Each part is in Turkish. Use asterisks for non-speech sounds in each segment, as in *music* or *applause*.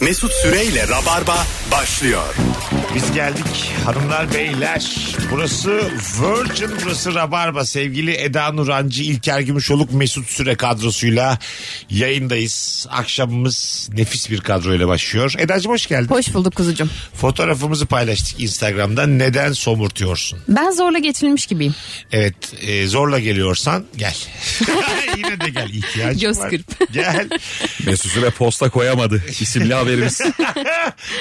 Mesut Süreyle Rabarba başlıyor. Biz geldik hanımlar beyler. Burası Virgin, burası Rabarba. Sevgili Eda Nurancı, İlker Gümüşoluk, Mesut Süre kadrosuyla yayındayız. Akşamımız nefis bir kadroyla başlıyor. Edacığım hoş geldin. Hoş bulduk kuzucum. Fotoğrafımızı paylaştık Instagram'dan. Neden somurtuyorsun? Ben zorla geçirilmiş gibiyim. Evet e, zorla geliyorsan gel. *laughs* Yine de gel ihtiyacım Göz var. kırp. Gel. Mesut Süre posta koyamadı. İsimli haberimiz.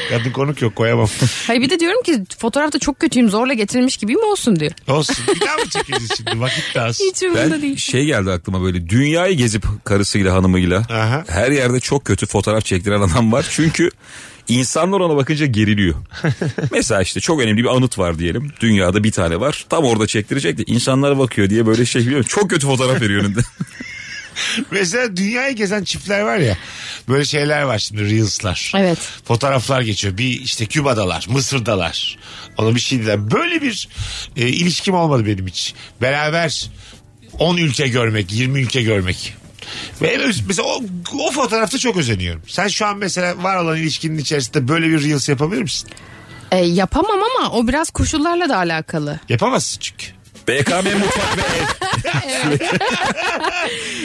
Kadın konuk yok koyamam. Hayır bir de diyorum ki fotoğrafta çok kötüyüm zorla getirilmiş gibiyim olsun diyor. Olsun bir daha mı çekeceğiz şimdi vakit de az. Hiç umurumda ben değil. şey geldi aklıma böyle dünyayı gezip karısıyla hanımıyla Aha. her yerde çok kötü fotoğraf çektiren adam var. Çünkü insanlar ona bakınca geriliyor. Mesela işte çok önemli bir anıt var diyelim. Dünyada bir tane var. Tam orada çektirecek de insanlar bakıyor diye böyle şey biliyor musun? Çok kötü fotoğraf veriyor önünde. Mesela dünyayı gezen çiftler var ya. Böyle şeyler var şimdi Reels'lar. Evet. Fotoğraflar geçiyor. Bir işte Küba'dalar, Mısır'dalar. Ona bir şey dediler. Böyle bir e, ilişkim olmadı benim hiç. Beraber 10 ülke görmek, 20 ülke görmek. Ve en öz- mesela o, o fotoğrafta çok özeniyorum. Sen şu an mesela var olan ilişkinin içerisinde böyle bir Reels yapabilir misin? E, yapamam ama o biraz koşullarla da alakalı. Yapamazsın çünkü. BKM mutfak ve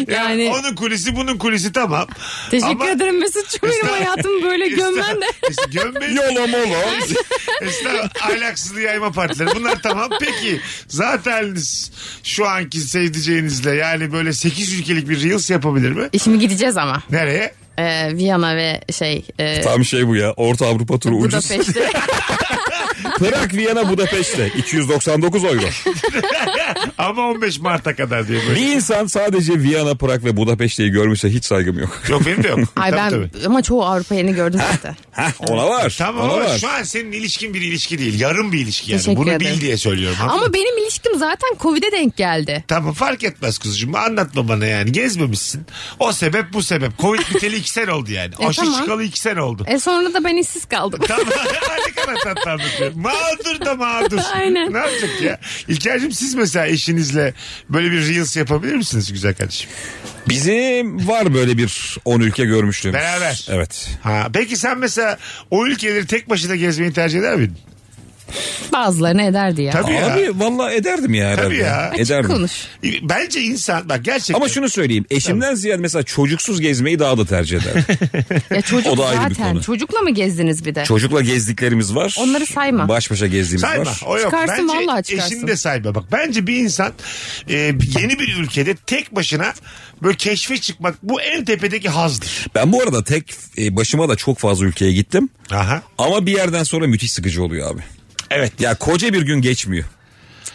Yani, Yani- onun kulisi bunun kulisi tamam. Teşekkür Ama- ederim Mesut'cum benim hayatımı böyle *laughs* gömmen de. Estağ- Gömmeyi *laughs* yola mola. Esnaf ahlaksızlığı yayma partileri. Bunlar tamam. Peki zaten şu anki sevdiceğinizle yani böyle 8 ülkelik bir Reels yapabilir mi? E, Şimdi gideceğiz ama. Nereye? E, Viyana ve şey e, Tam şey bu ya. Orta Avrupa turu ucuz. *laughs* Budapeşte. Prag, Viyana, Budapeşte. 299 euro. Ama 15 Mart'a kadar diye böyle. Bir insan sadece Viyana, Prag ve Budapeşte'yi görmüşse hiç saygım yok. Yok benim de yok. Ay Tabii, ben tabii. ama çoğu Avrupa yerini gördüm zaten. Heh, ona var. Tamam ona ama var. şu an senin ilişkin bir ilişki değil. Yarım bir ilişki yani. Teşekkür Bunu bil ederim. diye söylüyorum. ama benim ilişkim zaten Covid'e denk geldi. Tamam fark etmez kuzucuğum. Anlatma bana yani. Gezmemişsin. O sebep bu sebep. Covid biteli 2 sene oldu yani. E, Aşı tamam. çıkalı 2 sene oldu. E sonra da ben işsiz kaldım. Tamam. *laughs* ne kadar tatlı anlatıyor. Mağdur da mağdur. Aynen. Ne yapacak ya? İlker'cim siz mesela eşinizle böyle bir reels yapabilir misiniz güzel kardeşim? Bizim var böyle bir 10 ülke görmüşlüğümüz. Beraber. Evet. Ha, peki sen mesela o ülkeleri tek başına gezmeyi tercih eder miydin? Bazılarını ederdi ya. Tabii ya. Abi valla ederdim ya herhalde. Tabii ya. Açık Ederdim. Konuş. Bence insan bak gerçekten. Ama şunu söyleyeyim. Eşimden ziyade mesela çocuksuz gezmeyi daha da tercih *laughs* ederdim. Ya çocuk O da ayrı bir zaten. konu. Çocukla mı gezdiniz bir de? Çocukla gezdiklerimiz var. Onları sayma. Baş başa gezdiğimiz Sayma var. o yok. Çıkarsın, Bence vallahi çıkarsın. eşini de sayma. Bak bence bir insan e, yeni bir ülkede tek başına böyle keşfe çıkmak bu en tepedeki hazdır. Ben bu arada tek e, başıma da çok fazla ülkeye gittim. Aha. Ama bir yerden sonra müthiş sıkıcı oluyor abi. Evet. Ya koca bir gün geçmiyor.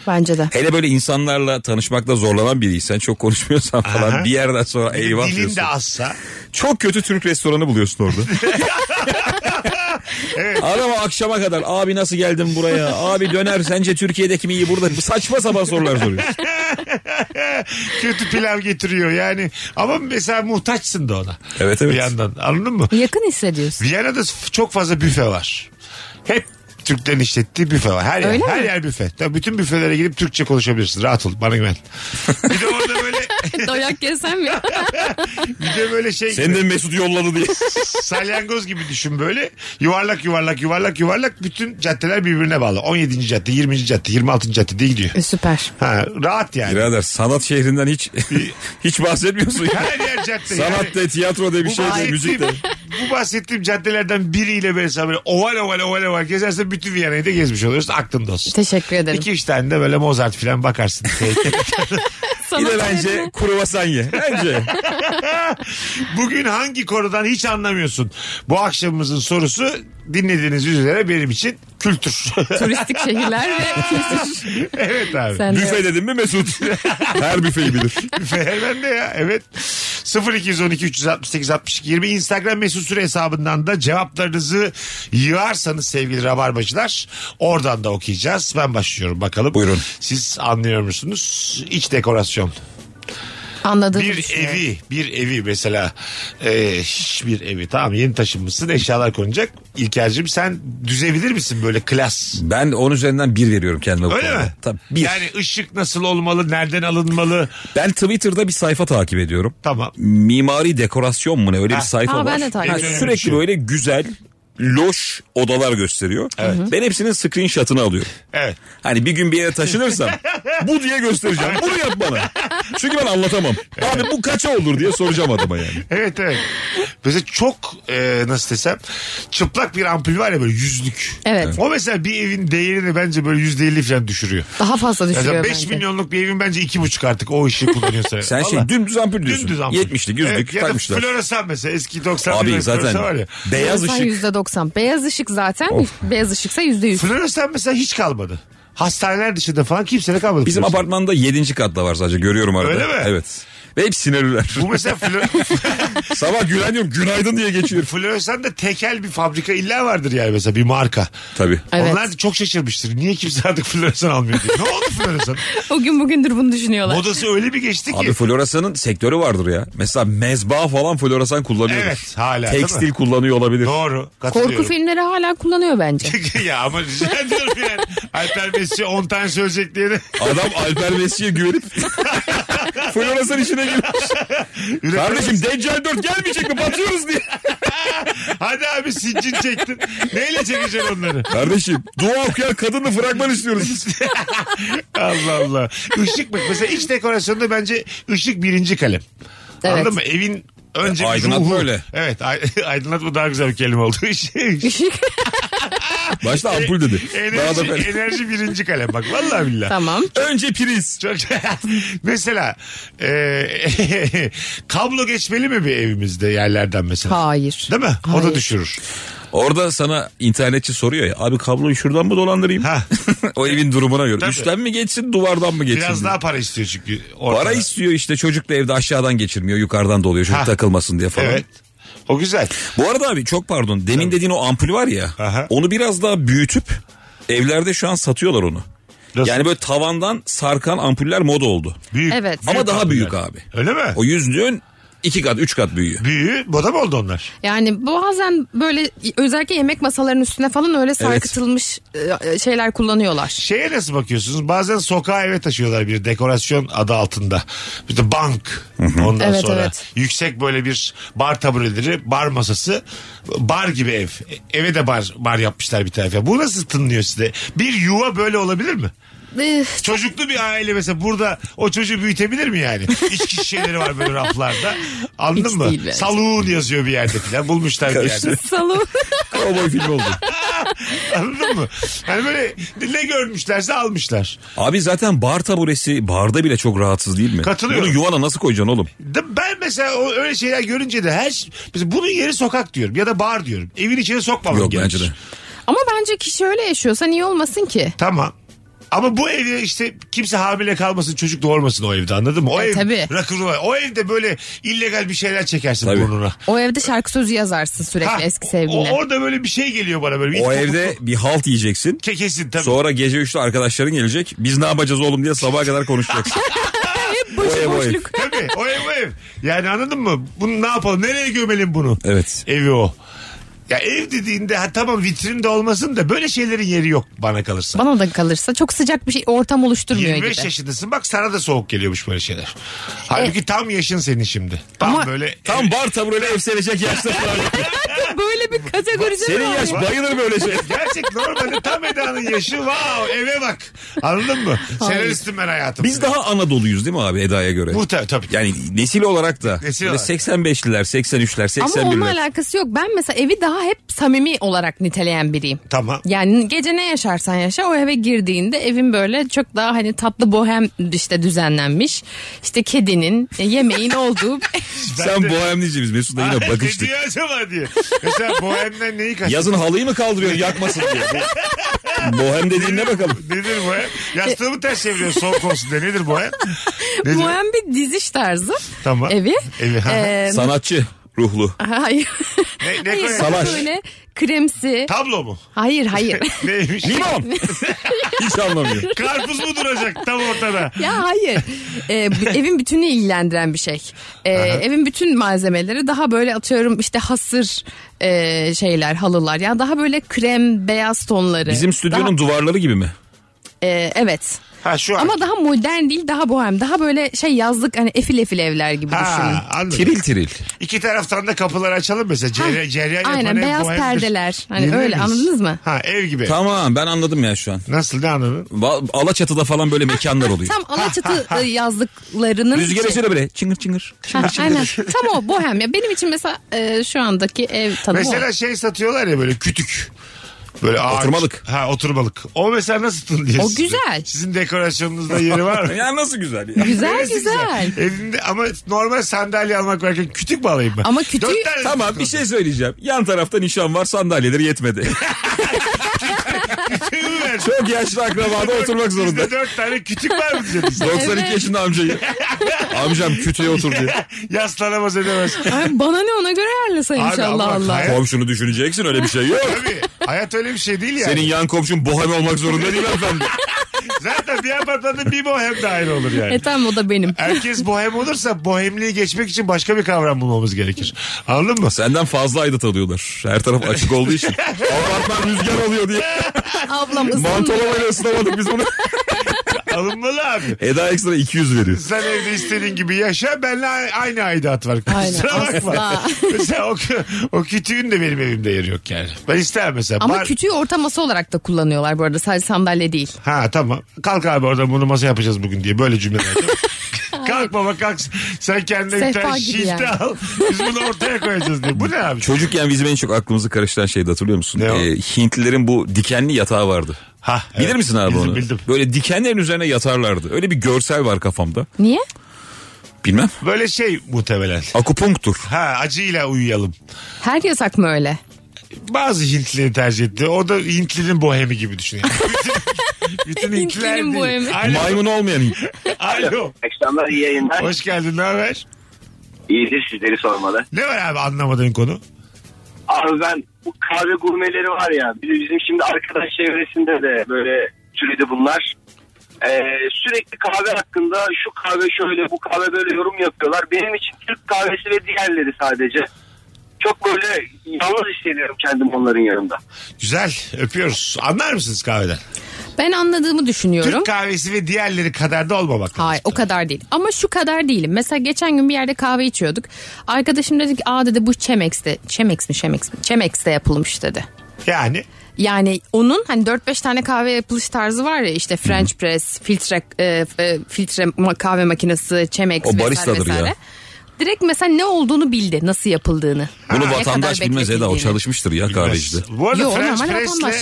Bence de. Hele böyle insanlarla tanışmakta zorlanan biriysen çok konuşmuyorsan falan Aha. bir yerden sonra eyvah Dilin de diyorsun. azsa. Çok kötü Türk restoranı *laughs* buluyorsun *laughs* orada. Adama akşama kadar abi nasıl geldin buraya? Abi döner sence Türkiye'deki mi iyi burada? Bu saçma sapan *laughs* sorular soruyor. kötü pilav getiriyor yani. Ama mesela muhtaçsın da ona. Evet, evet. Bir yandan anladın mı? Yakın hissediyorsun. Viyana'da f- çok fazla büfe var. Hep Türklerin işlettiği büfe var. Her yer, Öyle her mi? yer büfe. Tabii bütün büfelere gidip Türkçe konuşabilirsin. Rahat ol. Bana *laughs* güven. bir de orada böyle *laughs* Dayak yesem ya. bir de böyle şey Seni de Mesut yolladı diye. salyangoz gibi düşün böyle. Yuvarlak yuvarlak yuvarlak yuvarlak bütün caddeler birbirine bağlı. 17. cadde, 20. cadde, 26. cadde diye gidiyor. E, süper. Ha, rahat yani. Birader sanat şehrinden hiç *laughs* hiç bahsetmiyorsun ya. Her yer cadde. yani. Sanat de tiyatro de bir Bu şey de bahsettiğim- müzik de. *laughs* Bu bahsettiğim caddelerden biriyle mesela böyle oval oval oval oval gezersen bütün Viyana'yı da gezmiş oluyorsun. Aklında olsun. Teşekkür ederim. İki üç tane de böyle Mozart falan *laughs* bakarsın. Sana Bir de bence kruvasan ye. Bence. Bugün hangi konudan hiç anlamıyorsun? Bu akşamımızın sorusu dinlediğiniz üzere benim için kültür. Turistik şehirler *laughs* ve kültür. *laughs* evet abi. Sen de- Büfe dedim *laughs* mi Mesut? Her büfeyi bilir. Fe- ben de ya evet. 0212 368 62 20 Instagram mesut süre hesabından da cevaplarınızı yığarsanız sevgili rabarbacılar oradan da okuyacağız. Ben başlıyorum bakalım. Buyurun. Siz anlıyor musunuz? İç dekorasyon. Anladığını bir düşünüyorum. evi bir evi mesela e, hiçbir evi tamam yeni taşınmışsın eşyalar konacak İlker'cim sen düzebilir misin böyle klas? Ben onun üzerinden bir veriyorum kendime. bu Öyle konuda. mi? Tabii bir. Yani ışık nasıl olmalı nereden alınmalı Ben Twitter'da bir sayfa takip ediyorum. tamam. Mimari dekorasyon mu ne öyle Ha. bir sayfa Aa, var. ben de takip Ha, ediyorum. Sürekli böyle güzel loş odalar gösteriyor. Ben hepsinin screenshot'ını alıyorum. Evet. Hani bir gün bir *laughs* yere taşınırsam bu diye göstereceğim. Bunu yap bana. Çünkü ben anlatamam. Abi bu kaça olur diye soracağım adama yani. Evet evet. Mesela çok e, nasıl desem çıplak bir ampul var ya böyle yüzlük. Evet. O mesela bir evin değerini bence böyle yüzde elli falan düşürüyor. Daha fazla Mesela düşürüyor 5 bence. milyonluk bir evin bence iki buçuk artık o ışığı kullanıyorsa. *laughs* Sen Vallahi. şey dümdüz ampul diyorsun. Dümdüz ampul. 70'lik 100'lük Evet, ya da takmışlar. floresan mesela eski 90'lı Abi yılların floresan var zaten ya. beyaz Floresan ışık. Yüzde doksan. Beyaz ışık zaten. Of. Beyaz ışıksa yüzde yüz. Floresan mesela hiç kalmadı. Hastaneler dışında falan kimse de kalmadı. Bizim floresan. apartmanda 7. katta var sadece görüyorum arada. Öyle mi? Evet. Ve hep sinirliler. Bu mesela flö- Sabah gülen diyorum günaydın diye geçiyor. *laughs* floresan da tekel bir fabrika illa vardır yani mesela bir marka. Tabii. Evet. Onlar da çok şaşırmıştır. Niye kimse artık floresan almıyor diye. Ne oldu *laughs* floresan? O gün bugündür bunu düşünüyorlar. Modası öyle bir geçti ki. Abi floresanın sektörü vardır ya. Mesela mezba falan floresan kullanıyor. Evet, hala, değil Tekstil mi? kullanıyor olabilir. Doğru. Katılıyorum. Korku filmleri hala kullanıyor bence. *laughs* ya ama rica ediyorum yani. Alper Messi 10 tane söyleyecek diye de. *laughs* Adam Alper Messi'ye güvenip floresan işine girmiş. Kardeşim Deccal 4 gelmeyecek mi batıyoruz diye. Hadi abi sincin çektin. Neyle çekeceksin onları? *laughs* Kardeşim dua okuyan kadını fragman istiyoruz. Allah Allah. Işık bak mesela iç dekorasyonda bence ışık birinci kalem. Anladın Evet. mı? Evin önce E, bir aydınlatma ruhu. öyle. Evet ay- *laughs* aydınlatma daha güzel bir kelime oldu. *laughs* Işık- Işık. Başta ampul dedi. Daha da E- enerji, fena. enerji birinci kalem bak vallahi billahi. tamam. Önce priz. Çok *laughs* mesela e, *laughs* kablo geçmeli mi bir evimizde yerlerden mesela? Hayır. Değil mi? O da Hayır. düşürür. Orada sana internetçi soruyor ya abi kabloyu şuradan mı dolandırayım? Ha. *laughs* o evin durumuna göre. Tabii. Üstten mi geçsin duvardan mı geçsin? Biraz diye. daha para istiyor çünkü. ortada. Para istiyor işte çocuk da evde aşağıdan geçirmiyor yukarıdan doluyor çocuk Ha. takılmasın diye falan. Evet. O güzel. Bu arada abi çok pardon demin dediğin o ampul var ya Aha. onu biraz daha büyütüp evlerde şu an satıyorlar onu. Nasıl? Yani böyle tavandan sarkan ampuller moda oldu. Büyük. Evet. Ama daha ampulü. büyük abi. Öyle mi? O yüzlüğün iki kat üç kat büyüyor. Büyüğü moda mı oldu onlar? Yani bazen böyle özellikle yemek masalarının üstüne falan öyle sarkıtılmış e, şeyler kullanıyorlar. Şeye nasıl bakıyorsunuz? Bazen sokağa eve taşıyorlar bir dekorasyon adı altında. İşte bank ondan Evet, sonra. evet. Yüksek böyle bir bar tabureleri, bar masası, bar gibi ev. E- Eve de bar bar yapmışlar bir tarafa. Bu nasıl tınlıyor size? Bir yuva böyle olabilir mi? Eh, Çocuklu bir aile mesela burada o çocuğu büyütebilir mi yani? *laughs* İçki şişeleri var böyle raflarda. Anladın Hiç değil mı? bence. Saluğun yazıyor bir yerde falan. Bulmuşlar bir yerde. Salon. *laughs* Cowboy filmi oldu. Anladın mı? Hani böyle ne görmüşlerse almışlar. *laughs* Abi zaten bar taburesi barda bile çok rahatsız değil mi? Katılıyorum. Bunu yuvana nasıl koyacaksın oğlum? De- Ben mesela o- öyle şeyler görünce de her şey- mesela bunun yeri sokak diyorum ya da bar diyorum. Evin içine sokmamam Yok gerekir. bence de. Ama bence kişi öyle yaşıyorsa niye olmasın ki? Tamam. Ama bu evde işte kimse hamile kalmasın çocuk doğurmasın o evde anladın mı? O E, ev tabii. rock'n'roll. O evde böyle illegal bir şeyler çekersin Tabii. burnuna. O evde şarkı sözü yazarsın sürekli Ha, eski o- sevgiline. orada böyle bir şey geliyor bana böyle. O İlk evde kokulu- bir halt yiyeceksin. kekesin tabii. Sonra gece 3'te arkadaşların gelecek. Biz ne yapacağız oğlum diye sabaha kadar *laughs* konuşacaksın. Boş- o ev, o ev. boşluk. Tabii o ev o ev. Yani anladın mı? Bunu ne yapalım? Nereye gömelim bunu? Evet. Evi o. Ya ev dediğinde ha, tamam vitrin de olmasın da böyle şeylerin yeri yok bana kalırsa. Bana da kalırsa çok sıcak bir şey ortam oluşturmuyor 25 gibi. yaşındasın bak sana da soğuk geliyormuş böyle şeyler. Halbuki tam yaşın senin şimdi. Tam Ama- böyle Tam bar tabureli ev sevecek yaşta. *laughs* Böyle bir kategoride Senin yaş bayılır böyle şey. Gerçek normalde tam Eda'nın yaşı wow eve bak. Anladın mı? Senaristim ben hayatım. Biz daha Anadolu'yuz değil mi abi Eda'ya göre? Bu tabii. tabii. Yani nesil olarak da. Nesil Böyle olarak. 85'liler, 83'ler, Ama onunla 81'ler. alakası yok. Ben mesela evi daha hep samimi olarak niteleyen biriyim. Tamam. Yani gece ne yaşarsan yaşa o eve girdiğinde evin böyle çok daha hani tatlı bohem işte düzenlenmiş. İşte kedinin, e, yemeğin olduğu. Ben Sen de- bohem diyeceğiz biz Mesut'la *laughs* yine Ne bakıştık. diyor acaba diye. Mesela bohemden neyi kaçırdın? Yazın halıyı mı kaldırıyorsun yakmasın diye. *laughs* Bu- Bohem dediğine bakalım. Nedir bohem? Yastığımı ters çeviriyor soğuk olsun diye. *laughs* Nedir bohem? Nedir? bohem bir diziş tarzı Tamam. evi. Evi, ha. Ee, Sanatçı. ruhlu. Hayır. Ne, ne Hayır, koyar? Salaş. Böyle kremsi. Tablo mu? Hayır *laughs* hayır. *laughs* Neymiş? Limon. Hiç anlamıyor. Karpuz mu duracak tam ortada? *laughs* ya hayır. Ee, b- evin bütünü ilgilendiren bir şey. Ee, evin bütün malzemeleri daha böyle atıyorum işte hasır e, şeyler, halılar. Yani daha böyle krem, beyaz tonları. Bizim stüdyonun Daha- duvarları gibi mi? Ee, evet. Ha şu an. Ama daha modern değil, daha bohem. Daha böyle şey yazlık hani efil efil evler gibi düşünün. Ha, anladım. Tiril tiril. İki taraftan da kapıları açalım mesela. Ceryan, ceryan yapan Aynen ev beyaz bohemdir. perdeler. Hani Bilir öyle miyiz? anladınız mı? Ha ev gibi. Tamam ben anladım ya şu an. Nasıl ne anladın? Va- Alaçatı'da falan böyle mekanlar oluyor. Tam Alaçatı e, yazlıklarının Rüzgar içi. esiyor böyle çıngır çıngır. Ha, aynen. Tam o bohem ya. Benim için mesela e, şu andaki ev tanımı o. Mesela şey satıyorlar ya böyle kütük. Böyle ağaç. Oturmalık. Ha oturmalık. O mesela nasıl tınlıyor O sizde? güzel. Sizin dekorasyonunuzda yeri var mı? *laughs* Ya nasıl güzel *laughs* ya. Güzel Neresi güzel. Evimde ama normal sandalye almak varken kütük mü alayım ben? Ama kütüğü- Dört tane Tamam bir şey söyleyeceğim. Yan tarafta nişan var sandalyeleri yetmedi. şey kütüğü mü verdin? Çok yaşlı akrabada oturmak zorunda. Bizde dört tane kütük var mı bize? bizde? 92 Evet. yaşında amcayı. Amcam kütüğe otur diyor. *laughs* Yaslanamaz edemez. Ay, bana ne ona göre ayarlasa inşallah ama Allah. hayat- Komşunu düşüneceksin öyle bir şey yok. Tabii. Hayat öyle bir şey değil yani. Senin yan komşun bohem olmak zorunda değil efendim. Zaten bir apartmanda bir bohem dahil olur yani. E tamam o *laughs* da benim. Herkes bohem olursa bohemliği geçmek için başka bir kavram bulmamız gerekir. Anladın mı? Senden fazla aidat alıyorlar. Her taraf açık olduğu için. Apartman rüzgar alıyor diye. Ablam ısındı. Mantolamayla ısınamadık biz bunu. Alınmalı abi. Eda ekstra 200 veriyor. Sen evde istediğin gibi yaşa. Benle a- aynı aidat var. Aynen, Kusura bakma. asla. mesela o, kü- o kütüğün de benim evimde yeri yok yani. Ben istemem mesela. Ama Bar- kütüğü orta masa olarak da kullanıyorlar bu arada. Sadece sandalye değil. Ha tamam. Kalk abi oradan bunu masa yapacağız bugün diye böyle cümleler. *laughs* kalk baba kalk. Sen kendine bir Sehpa tane gibi şilte yani. al. Biz bunu ortaya koyacağız diye. Bu ne abi? Çocukken bizim en çok aklımızı karıştıran şeydi hatırlıyor musun? Ee, Ne o? Hintlilerin bu dikenli yatağı vardı. Ha, Bilir evet. misin abi Bildim, onu? bildim. Böyle dikenlerin üzerine yatarlardı. Öyle bir görsel var kafamda. Niye? Bilmem. Böyle şey muhtemelen. Akupunktur. Ha acıyla uyuyalım. Her yasak mı öyle? Bazı Hintlileri tercih etti. O da Hintli'nin bohemi gibi düşünüyor. *laughs* Bütün- Bütün Hintliler Hintli'nin değil. bohemi. Alo, Maymun olmayan Hint. alo. Akşamlar iyi yayınlar. Hoş geldin ne haber? İyidir sizleri sormalı. Ne var abi anlamadığın konu? Abi ben bu kahve gurmeleri var ya bir de bizim şimdi arkadaş çevresinde de böyle türedi bunlar. Ee, sürekli kahve hakkında şu kahve şöyle bu kahve böyle yorum yapıyorlar. Benim için Türk kahvesi ve diğerleri sadece. Çok böyle yalnız hissediyorum kendim onların yanında. Güzel öpüyoruz. Anlar mısınız kahveden? Ben anladığımı düşünüyorum. Türk kahvesi ve diğerleri kadar da olmamak lazım. Hayır o kadar değil. Ama şu kadar değilim. Mesela geçen gün bir yerde kahve içiyorduk. Arkadaşım dedi ki aa dedi bu Chemex'te. Chemex mi Chemex mi? Chemex'te yapılmış dedi. Yani Yani onun hani 4-5 tane kahve yapılış tarzı var ya işte French press, filtre e, e, filtre ma- kahve makinesi, Chemex O vesaire baristadır ya. vesaire. Direkt mesela ne olduğunu bildi, nasıl yapıldığını. Ne Bunu kadar vatandaş bilmez Eda o bekletildiğini. çalışmıştır ya kahvecide. Bu arada Yo, French normal press'le vatandaş.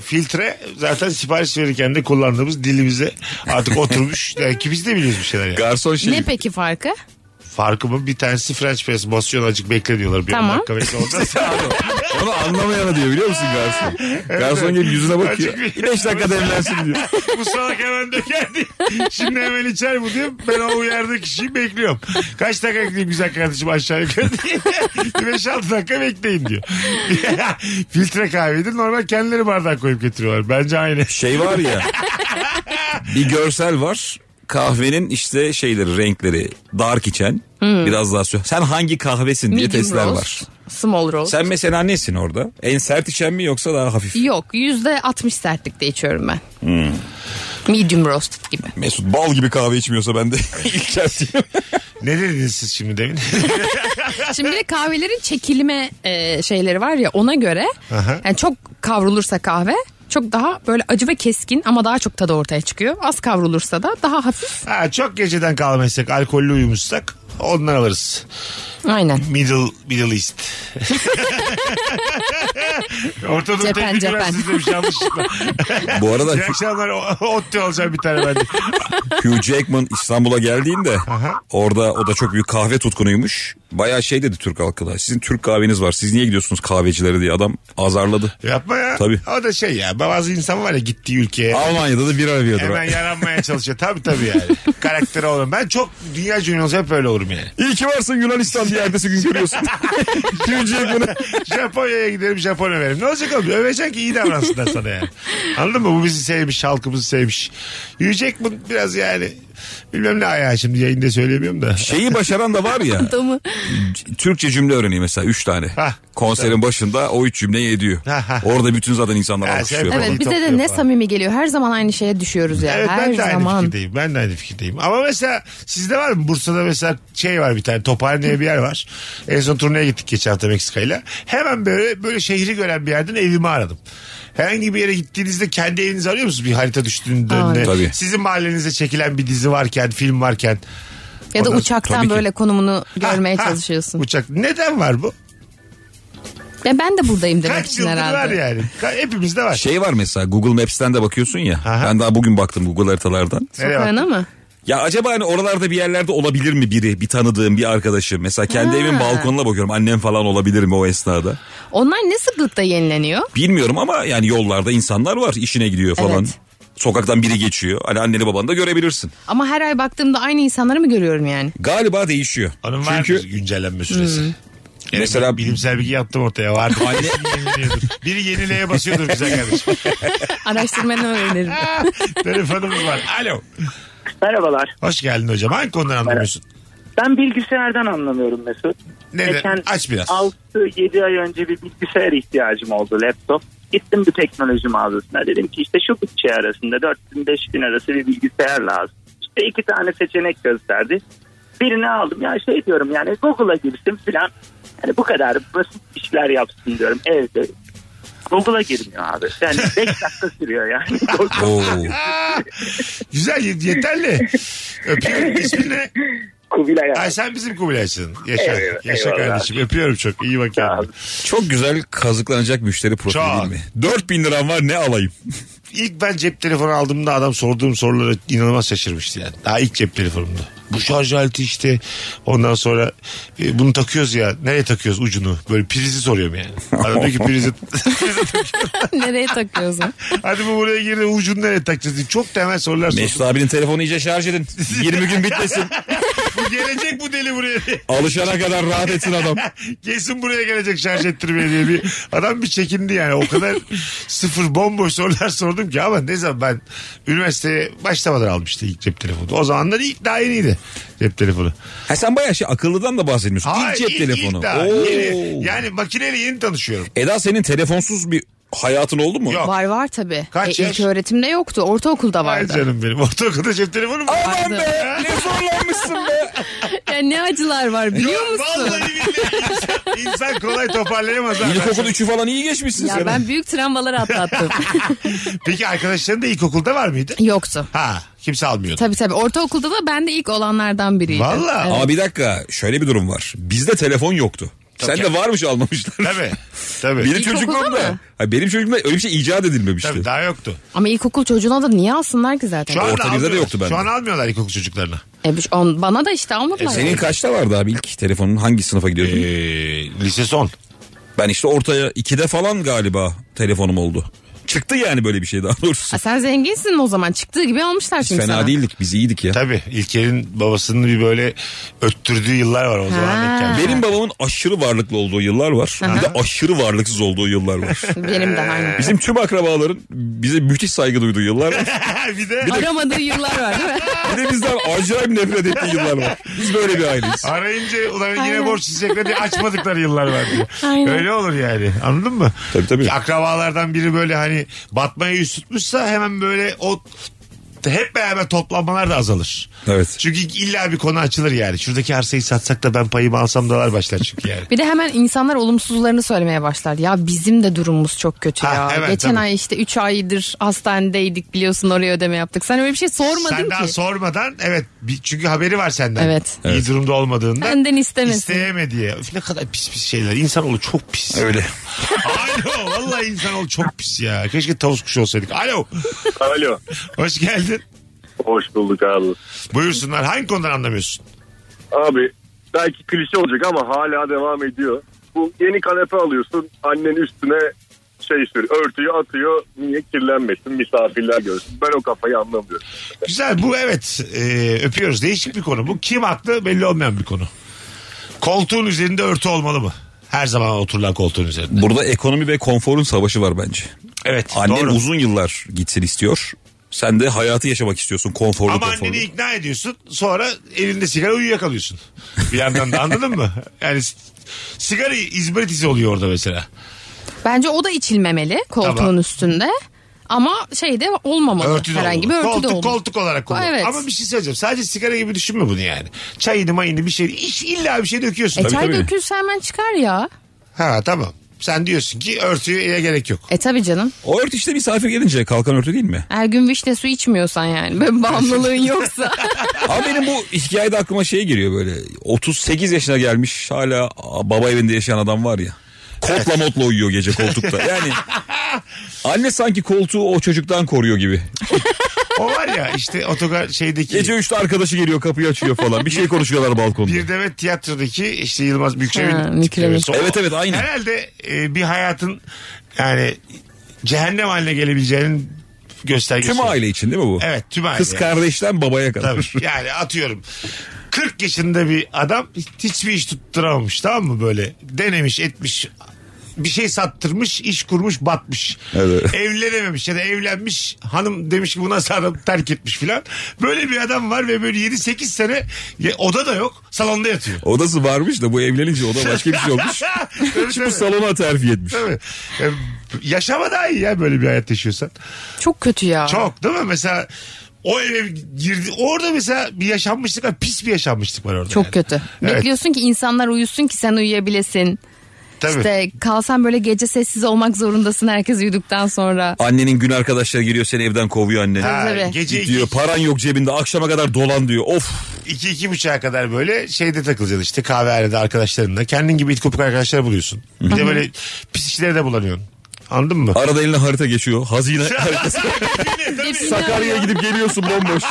filtre zaten sipariş verirken de kullandığımız dilimize artık *laughs* oturmuş. Yani ki biz de biliyoruz bir şeyler yani. Garson şey. *laughs* Ne peki farkı? Farkı mı? Bir tanesi French press basıyor azıcık bekle diyorlar. Bir on Tamam. dakika bekle ondan sonra- Onu anlamayana diyor biliyor musun garson? Garson gelip yüzüne bakıyor. Azıcık bir- 5 dakikada evlensin diyor. bu salak hemen döker diye. Şimdi hemen içer bu diyorum. Ben o uyardığı kişiyi bekliyorum. Kaç dakika bekleyeyim güzel kardeşim aşağı yukarı diye. *laughs* 5-6 dakika bekleyin diyor. *laughs* Filtre kahveydi. Normal kendileri bardağa koyup getiriyorlar. Bence aynı. Şey *laughs* var ya. bir görsel var. Kahvenin işte şeyleri renkleri dark içen biraz daha sü- Sen hangi kahvesin diye Hmm. Medium testler roast, var. Small roast. Sen mesela nesin orada? En sert içen mi yoksa daha hafif? Yok %60 sertlikte içiyorum ben. Medium roast gibi. Mesut bal gibi kahve içmiyorsa ben de *laughs* *laughs* ilk diyeyim. Ne dediniz siz şimdi demin? *laughs* Şimdi bir de kahvelerin çekilme e, şeyleri var ya ona göre yani çok kavrulursa kahve çok daha böyle acı ve keskin ama daha çok tadı ortaya çıkıyor. Az kavrulursa da daha hafif. ha, çok geceden kalmazsak, alkollü uyumuşsak ondan alırız. Aynen. Middle, Middle East. *laughs* Ortadoğu Cepen, Teknik cepen. Üniversitesi demiş yanlışlıkla. Bu arada İyi akşamlar. O- Otte alacağım bir tane ben de. Hugh Jackman İstanbul'a geldiğinde orada o da çok büyük kahve tutkunuymuş. bayağı şey dedi Türk halkı da. Sizin Türk kahveniz var. Siz niye gidiyorsunuz kahvecilere diye adam azarladı. Yapma ya. Tabii. O da şey ya bazı insan var ya gittiği ülkeye. Almanya'da da bir arıyordur. Hemen yaranmaya çalışıyor. Tabii tabii yani. Karakteri olan. Ben çok dünya cümle olsa hep öyle olurum yani. *laughs* İyi ki varsın Yunanistan diye ertesi *laughs* gün görüyorsun. Kimciye bunu. Japonya'ya giderim Japon överim. Ne olacak oğlum? Övecek ki iyi davransınlar sana yani. Anladın mı? Bu bizi sevmiş, halkımızı sevmiş. Yiyecek bu biraz yani. Bilmem ne ayağı şimdi yayında söyleyemiyorum da. Şeyi başaran da var ya. Adamı. Türkçe cümle öğreniyor mesela 3 tane. Hah, Konserin başında o 3 cümleyi ediyor. Ha, ha. Orada bütün zaten insanlar Ha, şey alkışlıyor. sen- falan. Evet Kafayı bize de topluyor ne falan. samimi geliyor. Her zaman aynı şeye düşüyoruz ya. Evet Her ben de aynı zaman. fikirdeyim. Ben de aynı fikirdeyim. Ama mesela sizde var mı? Bursa'da mesela şey var bir tane Tophane diye bir yer var. En son turneye gittik geçen hafta Meksika'yla. Hemen böyle böyle şehri gören bir yerden evimi aradım. Herhangi bir yere gittiğinizde kendi evinizi arıyor musunuz? Bir harita düştüğünde Aa, önüne. evet. Tabii. Sizin mahallenize çekilen bir dizi varken, film varken. Ya da Ondan- Tabii uçaktan ki. böyle *laughs* konumunu görmeye Ha, ha, çalışıyorsun. Uçak. Neden var bu? Ya ben de buradayım demek Kaç için yıldır var herhalde. yani. Ka- Hepimizde var. Şey var mesela Google Maps'ten de bakıyorsun ya. Aha. Ben daha bugün baktım Google haritalardan. Nereye Sokağına mı? Ya acaba hani oralarda bir yerlerde olabilir mi biri? Bir tanıdığım, bir arkadaşım. Mesela kendi Ha. evimin balkonuna bakıyorum. Annem falan olabilir mi o esnada? Onlar ne sıklıkta yenileniyor? Bilmiyorum ama yani yollarda insanlar var. işine gidiyor falan. Evet. Sokaktan biri geçiyor. Hani anneni babanı da görebilirsin. Ama her ay baktığımda aynı insanları mı *laughs* görüyorum yani? Galiba değişiyor. Onun var Çünkü mı güncellenme süresi? Yani Mesela- bilimsel bilgi yaptım ortaya. Vardı. Anne- Biri yenileye basıyordur güzel kardeşim. Araştırmanı öğrenirim. Telefonumuz var. Alo. Merhabalar. Hoş geldin hocam. Hangi konudan anlamıyorsun? Ben bilgisayardan anlamıyorum Mesut. Neden? Aç biraz. 6-7 ay önce bir bilgisayar ihtiyacım oldu laptop. Gittim bir teknoloji mağazasına dedim ki işte şu bütçe arasında 4000-5000 arası bir bilgisayar lazım. İşte iki tane seçenek gösterdi. Birini aldım ya şey diyorum yani Google'a girsin filan. Yani bu kadar basit işler yapsın diyorum evde. Google'a girmiyor abi. Yani 5 dakika sürüyor *laughs* yani. Oo. Güzel y- yeterli. Öpüyorum. İsmin ne? Kubilay abi. Ay sen bizim Kubilay'sın. Yaşa. Eyvallah, Yaşa eyvallah. kardeşim. Öpüyorum çok. İyi bak kendine. çok güzel kazıklanacak müşteri profili Çok. değil mi? 4000 liram var ne alayım? İlk ben cep telefonu aldığımda adam sorduğum sorulara inanılmaz şaşırmıştı yani. Daha ilk cep telefonumda. Bu şarj aleti işte. Ondan sonra e, bunu takıyoruz ya. Nereye takıyoruz ucunu? Böyle prizi soruyorum yani. Adam diyor ki prizi, prizi tak- *laughs* Nereye takıyorsun? Hadi bu buraya girdi ucunu nereye takacağız diye. Çok temel sorular Mesut sordum. abinin telefonu iyice şarj edin. 20 *laughs* gün bitmesin. Bu gelecek bu deli buraya diye. *laughs* Alışana kadar rahat etsin adam. Kesin buraya gelecek şarj ettirmeye diye bir adam bir çekindi yani. O kadar sıfır bomboş sorular sordum ki ama ne zaman ben üniversiteye başlamadan almıştı ilk cep telefonu. O zamanlar ilk daha yeniydi cep telefonu. Ha sen bayağı şey akıllıdan da bahsetmiyorsun. Hayır, ilk cep ilk- telefonu. ilk daha Oo. yeni. yani makineyle yeni tanışıyorum. Eda senin telefonsuz bir hayatın oldu mu? Yok. Var var tabii. Kaç e, yaş? İlk öğretimde yoktu. Ortaokulda Ay vardı. canım benim. *laughs* Ortaokulda cep telefonu mu? Aman be ne zorlanmışsın *laughs* be. Ya ne acılar var biliyor Yok, musun? Vallahi billahi insan, insan kolay toparlayamaz. ha. İlkokul 3'ü falan iyi geçmişsin sen. Ya ben büyük travmalar atlattım. *laughs* Peki arkadaşların da ilkokulda var mıydı? Yoktu. Ha kimse almıyordu. Tabii tabii. Ortaokulda da ben de ilk olanlardan biriydim. Valla. Ama bir dakika şöyle bir durum var. Bizde telefon yoktu. Sen de varmış almamışlar. Tabii. Tabii. *laughs* Benim İlkokulda çocukluğumda. mı? Ha, benim çocukluğumda öyle bir şey icat edilmemişti. Tabii daha yoktu. Ama ilkokul çocuğuna da niye alsınlar ki zaten? Şu anda Orta birde de almıyorlar. yoktu bende. Şu an almıyorlar ilkokul çocuklarına. E, bu- on- bana da işte almadılar. E, Senin kaçta vardı abi ilk telefonun hangi sınıfa gidiyordun? Ee, lise son. Ben işte ortaya 2'de falan galiba telefonum oldu. Çıktı yani böyle bir şey daha doğrusu. Ha, sen zenginsin o zaman. Çıktığı gibi almışlar şimdi Fena sana. değildik biz iyiydik ya. Tabii İlker'in babasının bir böyle öttürdüğü yıllar var o zaman. denk geldi. *laughs* Benim babamın aşırı varlıklı olduğu yıllar var. Bir de aşırı varlıksız olduğu yıllar var. *laughs* Benim de aynı. Bizim tüm akrabaların bize müthiş saygı duyduğu yıllar var. bir de Aramadığı yıllar var değil mi? Bir de bizden acayip nefret ettiği yıllar var. Biz böyle bir aileyiz. arayınca ulan yine Aynen. borç isteyecekler diye açmadıkları yıllar var diyor. Öyle olur yani anladın mı? Tabii, tabii. Akrabalardan biri böyle hani batmaya yüz tutmuşsa hemen böyle o hep beraber toplanmalar da azalır. Evet. Çünkü illa bir konu açılır yani. Şuradaki arsayı satsak da ben payımı alsam dalar başlar çünkü yani. Bir de hemen insanlar olumsuzlarını söylemeye başlar. Ya bizim de durumumuz çok kötü Ha, ya. evet, Geçen tabii. ay işte 3 aydır hastanedeydik biliyorsun oraya ödeme yaptık. Sen öyle bir şey sormadın Sen ki. daha sormadan evet bir- çünkü haberi var senden. Evet. İyi durumda olmadığında. Benden istemesin. İsteyeme diye. Üf, ne kadar pis pis şeyler. İnsanoğlu çok pis. Öyle. Alo vallahi insanoğlu çok pis ya. Keşke tavus kuşu olsaydık. Alo Alo. hoş geldin. Hoş bulduk abi. Buyursunlar hangi konudan anlamıyorsun? Abi belki klişe olacak ama hala devam ediyor. Bu yeni kanepe alıyorsun annen üstüne şey sürüyor örtüyü atıyor niye kirlenmesin misafirler görsün. Ben o kafayı anlamıyorum. Güzel bu evet Ee, öpüyoruz değişik bir konu bu kim haklı belli olmayan bir konu koltuğun üzerinde örtü olmalı mı her zaman oturulan koltuğun üzerinde Burada ekonomi ve konforun savaşı var bence. evet Annen doğru. uzun yıllar gitsin istiyor. Sen de hayatı yaşamak istiyorsun konforlu Ama konforlu. anneni ikna ediyorsun sonra elinde sigara uyuyakalıyorsun. Bir yandan da anladın mı? Yani s- sigara izmaritisi oluyor orada mesela. Bence o da içilmemeli koltuğun Tamam. üstünde. Ama şey de olmamalı. Örtü de Herhangi olur. bir örtü koltuk, de olur. Koltuk olarak kullan. Evet. Ama bir şey söyleyeceğim. Sadece sigara gibi düşünme bunu yani. Çayını mayını bir şey. iş- İlla bir şey döküyorsun. E çay tabii. dökülse hemen çıkar ya. Ha tamam. Sen diyorsun ki örtüye gerek yok. E tabi canım. O örtü işte misafir gelince kalkan örtü değil mi? Her gün vişne su içmiyorsan yani. Böyle bağımlılığın yoksa. Ama benim bu hikayede aklıma şey geliyor böyle. 38 yaşına gelmiş hala a, baba evinde yaşayan adam var ya. Kotla motla uyuyor gece koltukta. *laughs* Yani anne sanki koltuğu o çocuktan koruyor gibi. O var ya işte otogar şeydeki... Gece 3'te arkadaşı geliyor kapıyı açıyor falan. Bir şey konuşuyorlar balkonda. Bir demet tiyatrodaki işte Yılmaz Ha, Büyükçevir'in Mükremin. tiplemesi. O Evet, evet, aynı. Herhalde e, bir hayatın yani cehennem haline gelebileceğinin göstergesi. Tüm aile için değil mi bu? şey- Evet tüm aile. Kız kardeşten babaya *laughs* Tabii. kadar. Yani atıyorum 40 yaşında bir adam hiçbir iş tutturamamış tamam mı böyle denemiş etmiş bir şey sattırmış iş kurmuş batmış Evet. evlenememiş ya da evlenmiş hanım demiş ki bu nasıl adam terk etmiş filan böyle bir adam var ve böyle 7-8 sene ya, oda da yok salonda yatıyor. Odası varmış da bu evlenince o da başka bir *laughs* şey olmuş. Tabii, Bu tabii. salona terfi etmiş. Tabii. E, Yaşama daha iyi ya böyle bir hayat yaşıyorsan. *laughs* Çok kötü ya. Çok değil mi? Mesela o eve girdi. Orada mesela bir yaşanmışlık var. Pis bir yaşanmışlık var orada. Çok yani. kötü. Evet. Bekliyorsun ki insanlar uyusun ki sen uyuyabilesin. Tabii. İşte kalsan böyle gece sessiz olmak zorundasın herkes uyuduktan sonra. Annenin gün arkadaşları giriyor seni evden kovuyor annen. Ha, Tabii. gece Diyor paran yok cebinde akşama kadar dolan diyor. Of. 2 iki buçuğa kadar böyle şeyde takılacaksın işte kahvehanede arkadaşlarınla. Kendin gibi it kopuk arkadaşlar buluyorsun. Bir de böyle pis işlere de bulanıyorsun. Anladın mı? Arada eline harita *laughs* geçiyor. Hazine haritası. Hepsini Sakarya'ya arıyor. gidip geliyorsun bomboş.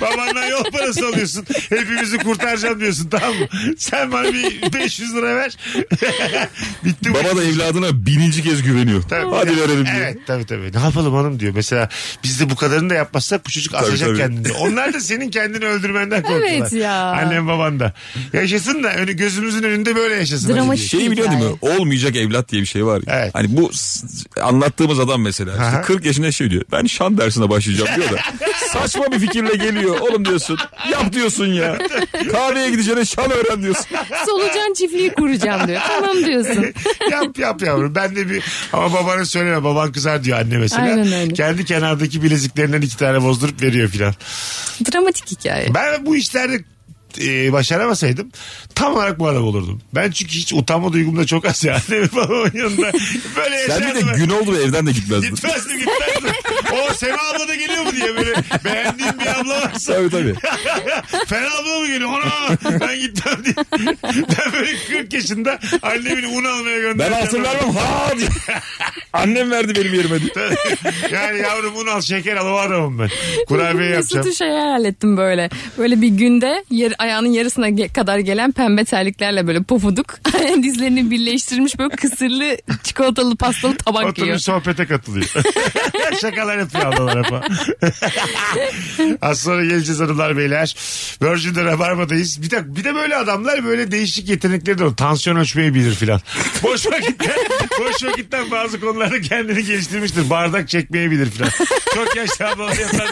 Babandan yol parası alıyorsun. Hepimizi kurtaracağım diyorsun tamam mı? Sen bana bir 500 lira ver. *laughs* Bitti bu. Baba da evladına bininci kez güveniyor. Tabii. Hadi Ya, verelim diyor. Evet tabii tabii. Ne yapalım hanım diyor. Mesela biz de bu kadarını da yapmazsak bu çocuk asacak tabii. kendini. Onlar da senin kendini öldürmenden korkuyorlar. Evet ya. Annem baban da. Yaşasın da önü gözümüzün önünde böyle yaşasın. Dramatik. Hadi Şeyi biliyor değil mi? Olmayacak evlat diye bir şey var. ya. Evet. Hani bu s- anlattığımız adam mesela işte Aha. 40 yaşında şey diyor. Ben şan dersine başlayacağım diyor *laughs* da. Saçma bir fikirle geliyor. Oğlum diyorsun. Yap diyorsun ya. Kahveye gideceğine şan *laughs* öğren diyorsun. Solucan çiftliği kuracağım diyor. Tamam diyorsun. diye. *laughs* yap yap yavrum. Ben de bir ama babana söyleme. Baban kızar diyor anne mesela. Aynen öyle. Kendi kenardaki bileziklerinden iki tane bozdurup veriyor filan. Dramatik hikaye. Ben bu işlerde e, başaramasaydım tam olarak bu adam olurdum. Ben çünkü hiç utanma duygum da çok az ya. *laughs* Annemin babamın yanında böyle Sen bir de yaşardım. gün oldu ve evden de gitmezdin. Gitmezdim gitmezdim. o Sema abla da geliyor mu diye böyle beğendiğim bir abla varsa. tabii tabii. Fena abla mı geliyor? Ana ben gitmem diye. Ben böyle 40 yaşında annemin un almaya Ben gönderdim. hatır vermem ha *laughs* diye. Annem verdi benim yerime diye. yani yavrum un al şeker al o adamım ben. *laughs* Kurabiye yapacağım. Mesut'u şey hayal ettim böyle. Böyle bir günde yer, ayağının yarısına ge- kadar gelen pembe terliklerle böyle pofuduk. *laughs* Dizlerini birleştirmiş böyle kısırlı çikolatalı pastalı tabak Oturup yiyor. sohbete katılıyor. *laughs* Şakalar yapıyor ablalar hep. Az sonra geleceğiz hanımlar beyler. Virgin'de Rabarba'dayız. Bir de, bir de böyle adamlar böyle değişik yetenekleri de var. Tansiyon ölçmeyi bilir filan. Boş vakitten, *laughs* boş vakitten bazı konularda kendini geliştirmiştir. Bardak çekmeyi bilir filan. Çok yaşlı ablalar yapar.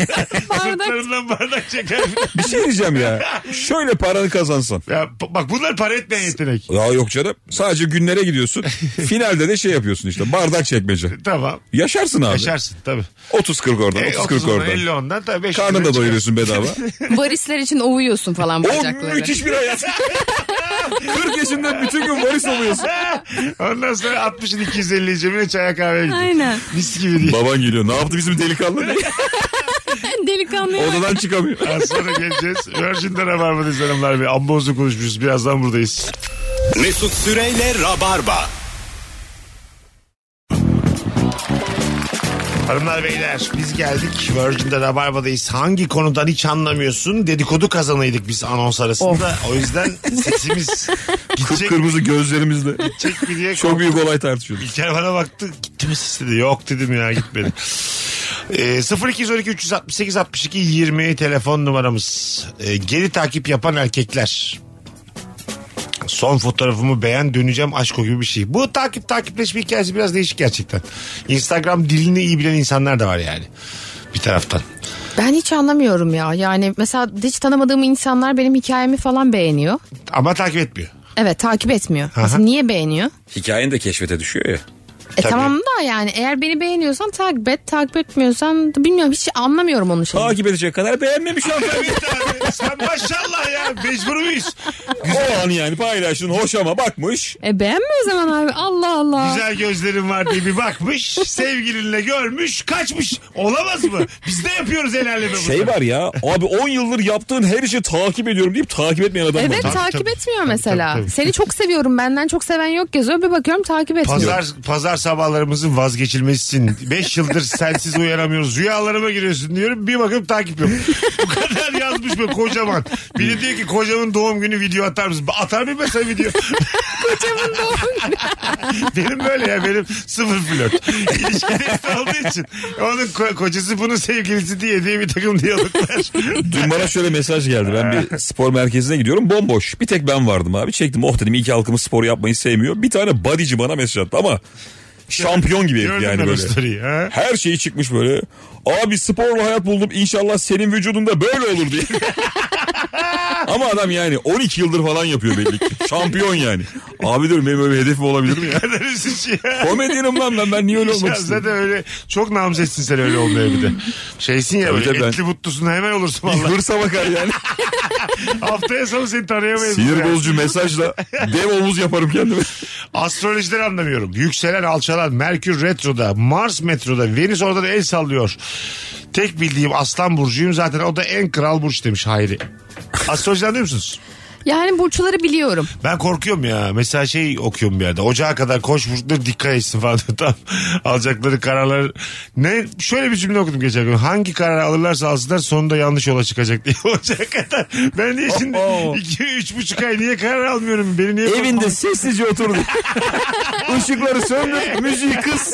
Sırtlarından bardak çeker. Bir şey diyeceğim ya. Şöyle paranı kazansan. Ya, bak bunlar para etmeyen yetenek. Ya yok canım. Sadece günlere gidiyorsun. Finalde de şey yapıyorsun işte. Bardak çekmece. Tamam. Yaşarsın abi. Yaşarsın tabii. 30-40 oradan, E, 30-40 ondan, oradan. 50 ondan tabii. beş Karnını lira da çıkar. doyuruyorsun bedava. *laughs* Varisler için ovuyorsun falan o bacakları. müthiş bir hayat. *laughs* 40 yaşında bütün gün varis oluyorsun. Ondan sonra 60'ın 250'yi cebine çaya kahveye gidiyor. Aynen. Mis gibi değil. Baban geliyor. Ne yaptı bizim delikanlı? diye. *laughs* Delikanlı. *laughs* Odadan çıkamıyor. Az sonra geleceğiz. Virgin'de Rabarba'dayız hanımlar. Bir ambozlu konuşmuşuz. Birazdan buradayız. Mesut Süreyle Rabarba. Hanımlar beyler biz geldik. Virgin'de Rabarba'dayız. Hangi konudan hiç anlamıyorsun? Dedikodu kazanıydık biz anons arasında. O yüzden sesimiz gidecek, *laughs* Kıpkırmızı gözlerimizle. gidecek mi diye Çok büyük olay tartışıyoruz. İlker bana baktı gitti mi siz dedi. Yok dedim ya gitmedi. E, 0212 368 62 20 telefon numaramız. E, geri takip yapan erkekler. Son fotoğrafımı beğen döneceğim aşko gibi bir şey. Bu takip takipleşme hikayesi biraz değişik gerçekten. Instagram dilini iyi bilen insanlar da var yani. Bir taraftan. Ben hiç anlamıyorum ya. Yani mesela hiç tanımadığım insanlar benim hikayemi falan beğeniyor. Ama takip etmiyor. *laughs* Evet takip etmiyor. Aha. Mesela niye beğeniyor? Hikayen de keşfete düşüyor ya. E tamam da yani eğer beni beğeniyorsan takip et. Takip etmiyorsan da bilmiyorum hiç anlamıyorum onun şeyini. Takip edecek kadar beğenmemiş an. *laughs* Evet abi, sen maşallah ya mecbur muyuz? o an yani paylaştın hoş ama bakmış. E beğenme o zaman abi. Allah Allah. Güzel gözlerim var diye bir bakmış. Sevgilinle görmüş. Kaçmış. Olamaz mı? Biz de yapıyoruz el aleme bunu. Şey var ya abi 10 yıldır yaptığın her işi takip ediyorum deyip takip etmeyen adam Evet var. takip tabii. etmiyor Tabii, mesela. tabii, tabii. Seni çok seviyorum benden çok seven yok yazıyor. Bir bakıyorum takip etmiyor. Pazar, pazar sabahlarımızın vazgeçilmesisin. 5 yıldır sensiz uyanamıyoruz. Rüyalarıma giriyorsun diyorum. Bir bakıp takip yok. Bu kadar yazmış mı kocaman. Biri diyor ki kocamın doğum günü video atar mısın? Atar mı mesela video? *laughs* Kocamın doğum günü. benim böyle ya benim sıfır flört. İlişkidesi olduğu için. Onun ko- kocası bunun sevgilisi diye diye bir takım diyaloglar. Dün bana şöyle mesaj geldi. Ben *laughs* bir spor merkezine gidiyorum. Bomboş. Bir tek ben vardım abi. Çektim. Oh dedim iyi ki halkımız spor yapmayı sevmiyor. Bir tane bodyci bana mesaj attı ama şampiyon gibi herif Gördüm yani ben o böyle. story'yi. *laughs* Ha? Her şeyi çıkmış böyle. Abi sporla hayat buldum. İnşallah senin vücudunda böyle olur diye. *laughs* Ama adam yani 12 yıldır falan yapıyor belli ki. Şampiyon yani. Abi diyorum benim öyle bir hedefim olabilir mi ya? Kadar üzücü ya. Komedyenim lan ben. Ben niye öyle olmak Ya istedim? zaten öyle çok namzetsin sen öyle olmaya bir de. Şeysin ya Tabii böyle de ben- etli mutlusun hemen olursun valla. Hırsa bakar yani. *laughs* Haftaya sonu seni tanıyamayız. Sinir Ya. bozucu mesajla dev omuz yaparım kendime. Astrolojileri anlamıyorum. Yükselen alçalan Merkür retroda, Mars metroda, Venüs orada da el sallıyor. Tek bildiğim Aslan Burcu'yum zaten o da en kral burç demiş Hayri. Astrolojiden anlıyor musunuz? Yani burçları biliyorum. Ben korkuyorum ya. Mesela şey okuyorum bir yerde. Ocağa kadar koş burçları dikkat etsin falan diyor. *laughs* Tam alacakları kararlar. Ne? Şöyle bir cümle okudum geçen gün. Hangi karar alırlarsa alsınlar sonunda yanlış yola çıkacak diye. *laughs* Ocağa kadar. Ben niye şimdi Oho. iki, üç buçuk ay niye karar almıyorum? Beni niye Evinde sessizce *laughs* oturdu. Işıkları söndür, müziği kıs.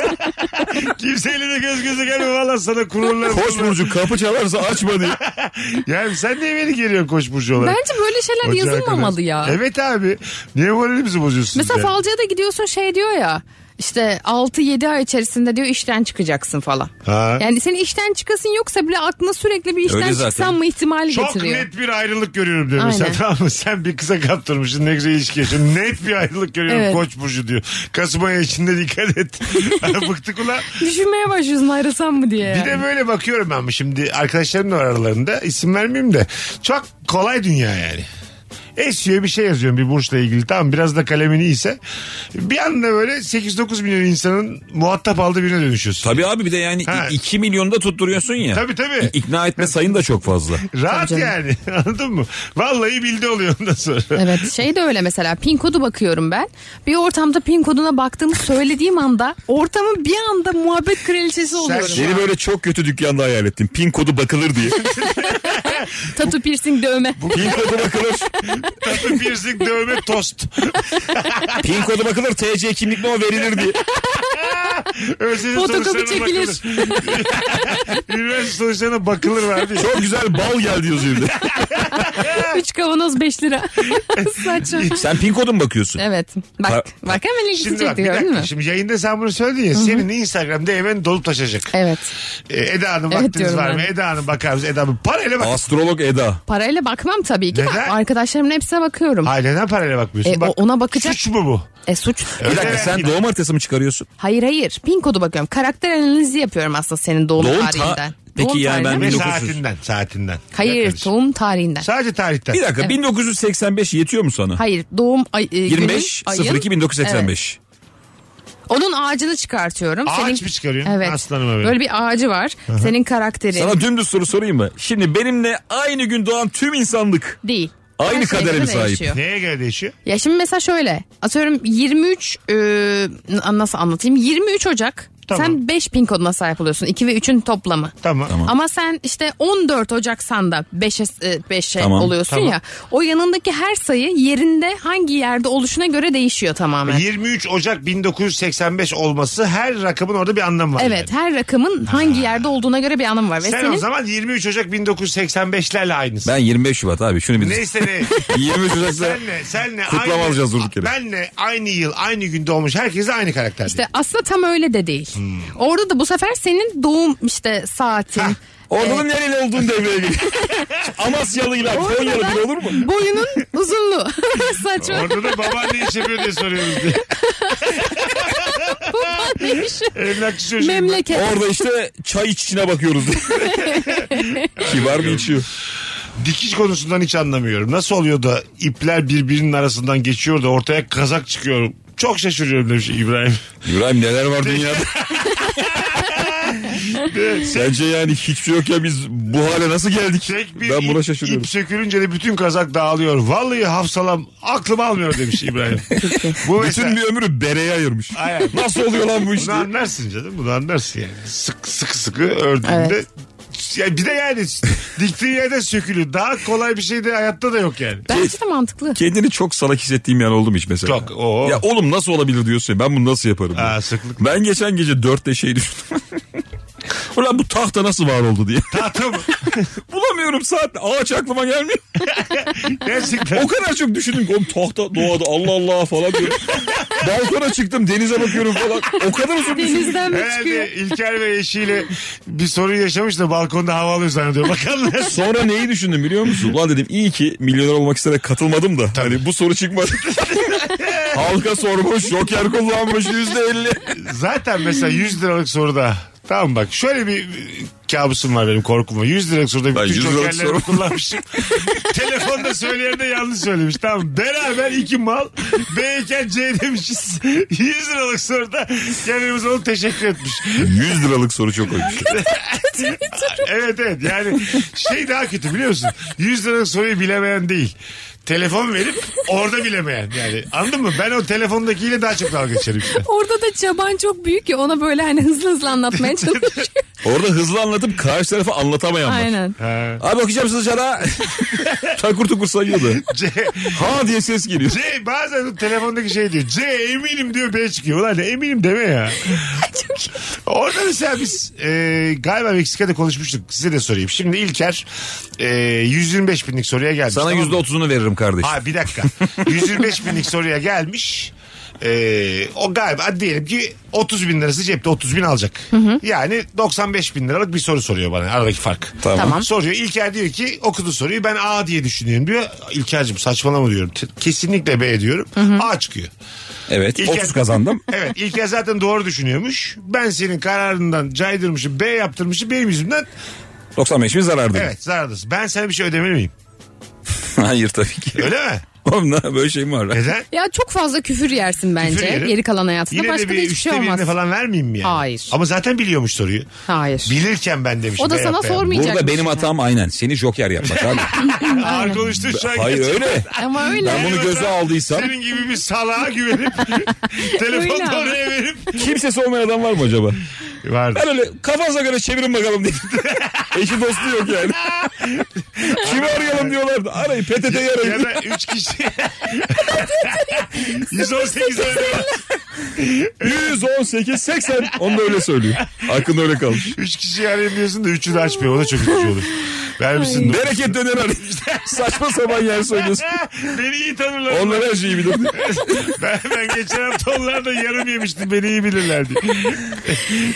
Kimseyle de göz göze gelme. Valla sana *laughs* kururlar. Koç burcu kapı çalarsa açma diye. Yani sen niye beni geliyorsun koç burcu olarak? Bence böyle şeyler Ocağa yazılmamalı kadar. ya. Evet abi. Niye moralimizi bozuyorsun? Mesela ya? falcıya da gidiyorsun şey diyor ya. İşte 6-7 ay içerisinde diyor işten çıkacaksın falan. Ha. Yani senin işten çıkasın yoksa bile aklına sürekli bir işten Öyle zaten. çıksan mı ihtimali Çok getiriyor. net bir ayrılık görüyorum diyor mesela Aynen. tamam mı? Sen bir kıza kaptırmışsın ne güzel ilişki yaşıyorsun. Net bir ayrılık görüyorum Evet. koç burcu diyor. Kasım ayı içinde dikkat *laughs* et. *laughs* Bıktık ulan. Düşünmeye başlıyorsun ayrılsam mı diye. Bir yani. de böyle bakıyorum ben şimdi arkadaşlarım da var aralarında isim vermeyeyim de çok kolay dünya yani. Esiyor bir şey yazıyorum bir burçla ilgili tamam biraz da kalemin iyiyse bir anda böyle 8-9 milyon insanın muhatap aldığı birine dönüşüyorsun. Tabii abi bir de yani Ha. 2 milyonu da tutturuyorsun ya. Tabii, tabii. İ- İkna etme sayın da çok fazla. Rahat Tabii yani *laughs* anladın mı? Vallahi bildi oluyor ondan *laughs* sonra. Evet şey de öyle mesela pin kodu bakıyorum ben. Bir ortamda pin koduna baktığımı söylediğim anda ortamın bir anda muhabbet kraliçesi oluyorum. Seni böyle çok kötü dükkanda hayal ettim. Pin kodu bakılır diye. Tatu piercing dövme. Pin kodu bakılır. Tatlı piercing dövme tost. Pin kodu bakılır. TC kimlik mi o verilir diye. Özel Fotokopi sonuçlarına çekilir. *laughs* bakılır. Üniversite sonuçlarına bakılır verdi. Çok güzel bal geldi yazıyor bir de. 3 kavanoz *laughs* 5 lira. Saçma. Sen pin kodu mu bakıyorsun? Evet. Bak, Ha- bak hemen ilgisi Şimdi bak çekti bir gördün mü? dakika. Şimdi yayında sen bunu söyledin ya. Senin Instagram'da hemen dolup taşacak. Evet. Ee, Eda Hanım Evet vaktiniz diyorum var ben. mı? Eda Hanım bakar mısın? Eda Hanım parayla bak. Astrolog Eda. Parayla bakmam tabii ki. Neden? Bak, arkadaşlarımın hepsine bakıyorum. Hayır neden parayla bakmıyorsun? E, o- ona bakacak- Suç mu bu? E suç. Bir dakika sen doğum haritasını mı çıkarıyorsun? Hayır hayır. Pin kodu bakıyorum. Karakter analizi yapıyorum aslında senin doğum, Doğum ta- tarihinden. Peki doğum yani Ve ben tarihinden. 1900. saatinden. Saatinden. Ne Hayır kardeşim? doğum tarihinden. Sadece tarihten. Bir dakika 1985 yetiyor mu sana? Hayır doğum ay, e, günün, 25 ayın- 02 1985. Evet. Onun ağacını çıkartıyorum. Ağaç mı çıkarıyorsun? Evet. Aslanıma benim. Böyle bir ağacı var. Senin karakterin Sana dümdüz soru sorayım mı? Şimdi benimle aynı gün doğan tüm insanlık değil. Aynı Her şeye kadere göre mi sahip? değişiyor. Neye göre değişiyor? Ya şimdi mesela şöyle atıyorum 23 e, nasıl anlatayım 23 Ocak Tamam. Sen 5 pin koduna sahip oluyorsun. 2 ve 3'ün toplamı. Tamam. Ama sen işte 14 Ocaksan da 5'e 5'e Tamam, e, oluyorsun tamam. ya. O yanındaki her sayı yerinde hangi yerde oluşuna göre değişiyor tamamen. 23 Ocak 1985 olması her rakamın orada bir anlamı var. Evet her rakamın hangi yerde olduğuna göre bir anlamı var. Ve Yani. Sen senin o zaman 23 Ocak 1985'lerle aynısın. Ben 25 Şubat abi şunu *laughs* bir... Neyse ne. 23 Ocak'ta Senle, senle kutlama aynı, alacağız durduk yere. Benle aynı yıl, aynı günde olmuş herkes de aynı karakter. İşte aslında tam öyle de değil. Orada da bu sefer senin doğum işte saatin. Orada da nereli olduğun devreye giriyor. *laughs* Amasyalıyla Konyalı bile olur mu? Boyunun uzunluğu. *laughs* Saçma. Orada da baban ne iş yapıyor diye soruyoruz diye. Neymiş? Emlakçı çocuğum. ben. Memleket. Orada işte çay içine bakıyoruz. Kibar mı içiyor? Dikiş konusundan hiç anlamıyorum. Nasıl oluyor da ipler birbirinin arasından geçiyor da ortaya kazak çıkıyor. Çok şaşırıyorum demiş İbrahim. İbrahim neler *laughs* var dünyada? Sence yani hiçbir şey yokken biz bu hale nasıl geldik? Tek bir Ben buna ip- şaşırıyorum. ip sökülünce de bütün kazak dağılıyor. Vallahi hafsalam aklım almıyor demiş İbrahim. Bu mesela... Bütün bir ömrü bereye ayırmış. Aynen. Nasıl oluyor lan bu işte? Bunu anlarsın canım bunu anlarsın yani. Sık sıkı sıkı ördüğünde. Evet. Yani bir de yani diktiğin yerden sökülüyor. Daha kolay bir şey de hayatta da yok yani. Bence de mantıklı. Kendini çok salak hissettiğim yani oldu mu hiç mesela? Çok, oo. Ya oğlum nasıl olabilir diyorsun ya, ben bunu nasıl yaparım? Aa, sıklık. Ben geçen gece dörtte şey düşündüm. *laughs* Ulan bu tahta nasıl var oldu diye. Tahta mı? *laughs* Bulamıyorum saat. Ağaç aklıma gelmiyor. Gerçekten. O kadar çok düşündüm ki oğlum tahta doğada Allah Allah falan *laughs* diyorum. Balkona çıktım denize bakıyorum falan. O kadar uzun düşündüm. Denizden mi çıkıyor? Herhalde İlker ve eşiyle bir sorun yaşamış da balkonda hava alıyor zannediyor. *laughs* Bakanlar. Sonra neyi düşündüm biliyor musun? Ulan dedim iyi ki milyoner olmak isteyerek katılmadım da. Hani bu soru *laughs* çıkmadı. Halka sormuş, joker kullanmış yüzde elli. Zaten mesela 100 liralık soruda Tamam bak şöyle bir e, kabusum var benim korkum var. 100 liralık soruda Ben bütün 100 liralık jokerlerimi soru- *laughs* kullanmışım. Telefonda söyleyen de yanlış söylemiş. Tamam beraber iki mal B'yken C demişiz. 100 liralık soruda kendimize onu teşekkür etmiş. 100 liralık soru çok koymuş. Evet evet yani şey daha kötü biliyor musun? 100 liralık soruyu bilemeyen değil. Telefon verip orada bilemeyen yani anladın mı? Ben o telefondakiyle daha çok dalga geçerim *laughs* işte. Orada da çaban çok büyük ya ona böyle hani hızlı hızlı anlatmaya çalışıyor. Orada hızlı anlatıp karşı tarafa anlatamayan var. Aynen. Ha. Abi bakacağım size *laughs* dışarı. Takur tukur sayıyordu. C- Ha diye ses geliyor. C bazen o telefondaki şey diyor. C eminim diyor B çıkıyor. Ulan eminim deme ya. Orada mesela biz e, galiba Meksika'da konuşmuştuk. Size de sorayım. Şimdi İlker e, 125 binlik soruya gelmiş. Sana tamam mı? yüzde otuzunu veririm kardeşim. Ha bir dakika. 125 binlik soruya gelmiş. E, o galiba hadi diyelim ki 30 bin lirası cepte 30 bin alacak. Yani 95 bin liralık bir soru soruyor bana aradaki fark. Tamam. Soruyor. İlker diyor ki okudu soruyu ben A diye düşünüyorum diyor. İlker'cim saçmalama diyorum. T- Kesinlikle B diyorum. A çıkıyor. Evet. İlker- 30 *laughs* kazandım. *laughs* Evet İlker zaten doğru düşünüyormuş. Ben senin kararından caydırmışım B yaptırmışım benim yüzümden. 95 mi zarardın? Evet zarardasın. Ben sana bir şey ödemeli miyim? Hayır tabii ki. Öyle mi? Oğlum ne böyle şey mi var? lan? Neden? Ya çok fazla küfür yersin bence Küfür yerim. geri kalan hayatında. Yine de Başka da bir hiçbir üçte şey olmaz. birine falan vermeyeyim mi yani? Hayır. Ama zaten biliyormuş soruyu. Hayır. Bilirken ben demişim. O da B sana yap, B yap. sormayacak. şey. Burada benim hatam aynen. Seni joker yapmak *laughs* abi. Ağır konuştun şu an. Hayır gerçekten. öyle. Ama Ben öyle. bunu göze aldıysam Senin gibi bir salağa *laughs* güvenip *laughs* Öyle telefonda ama. oraya verip kimsesi olmayan adam var mı acaba? vardı. Ben öyle kafanıza göre çevirin bakalım *laughs* diye. Eşi dostu yok *laughs* yani. Kimi arayalım diyorlardı. Arayın PTT'yi Ya arayın. da 3 kişi *laughs* 118 ödeme. 118 80. Onu da öyle söylüyor. Aklında öyle kalmış. 3 kişi arayayım diyorsun da 3'ü de açmıyor. O da çok üzücü olur. Vermişsin. Bereket döner arayın. *laughs* Saçma sapan yer söylüyorsun. Beni iyi tanırlar. Onlar her şeyi bilir. Ben, ben geçen hafta onlardan yarım yemiştim. Beni iyi bilirler diye.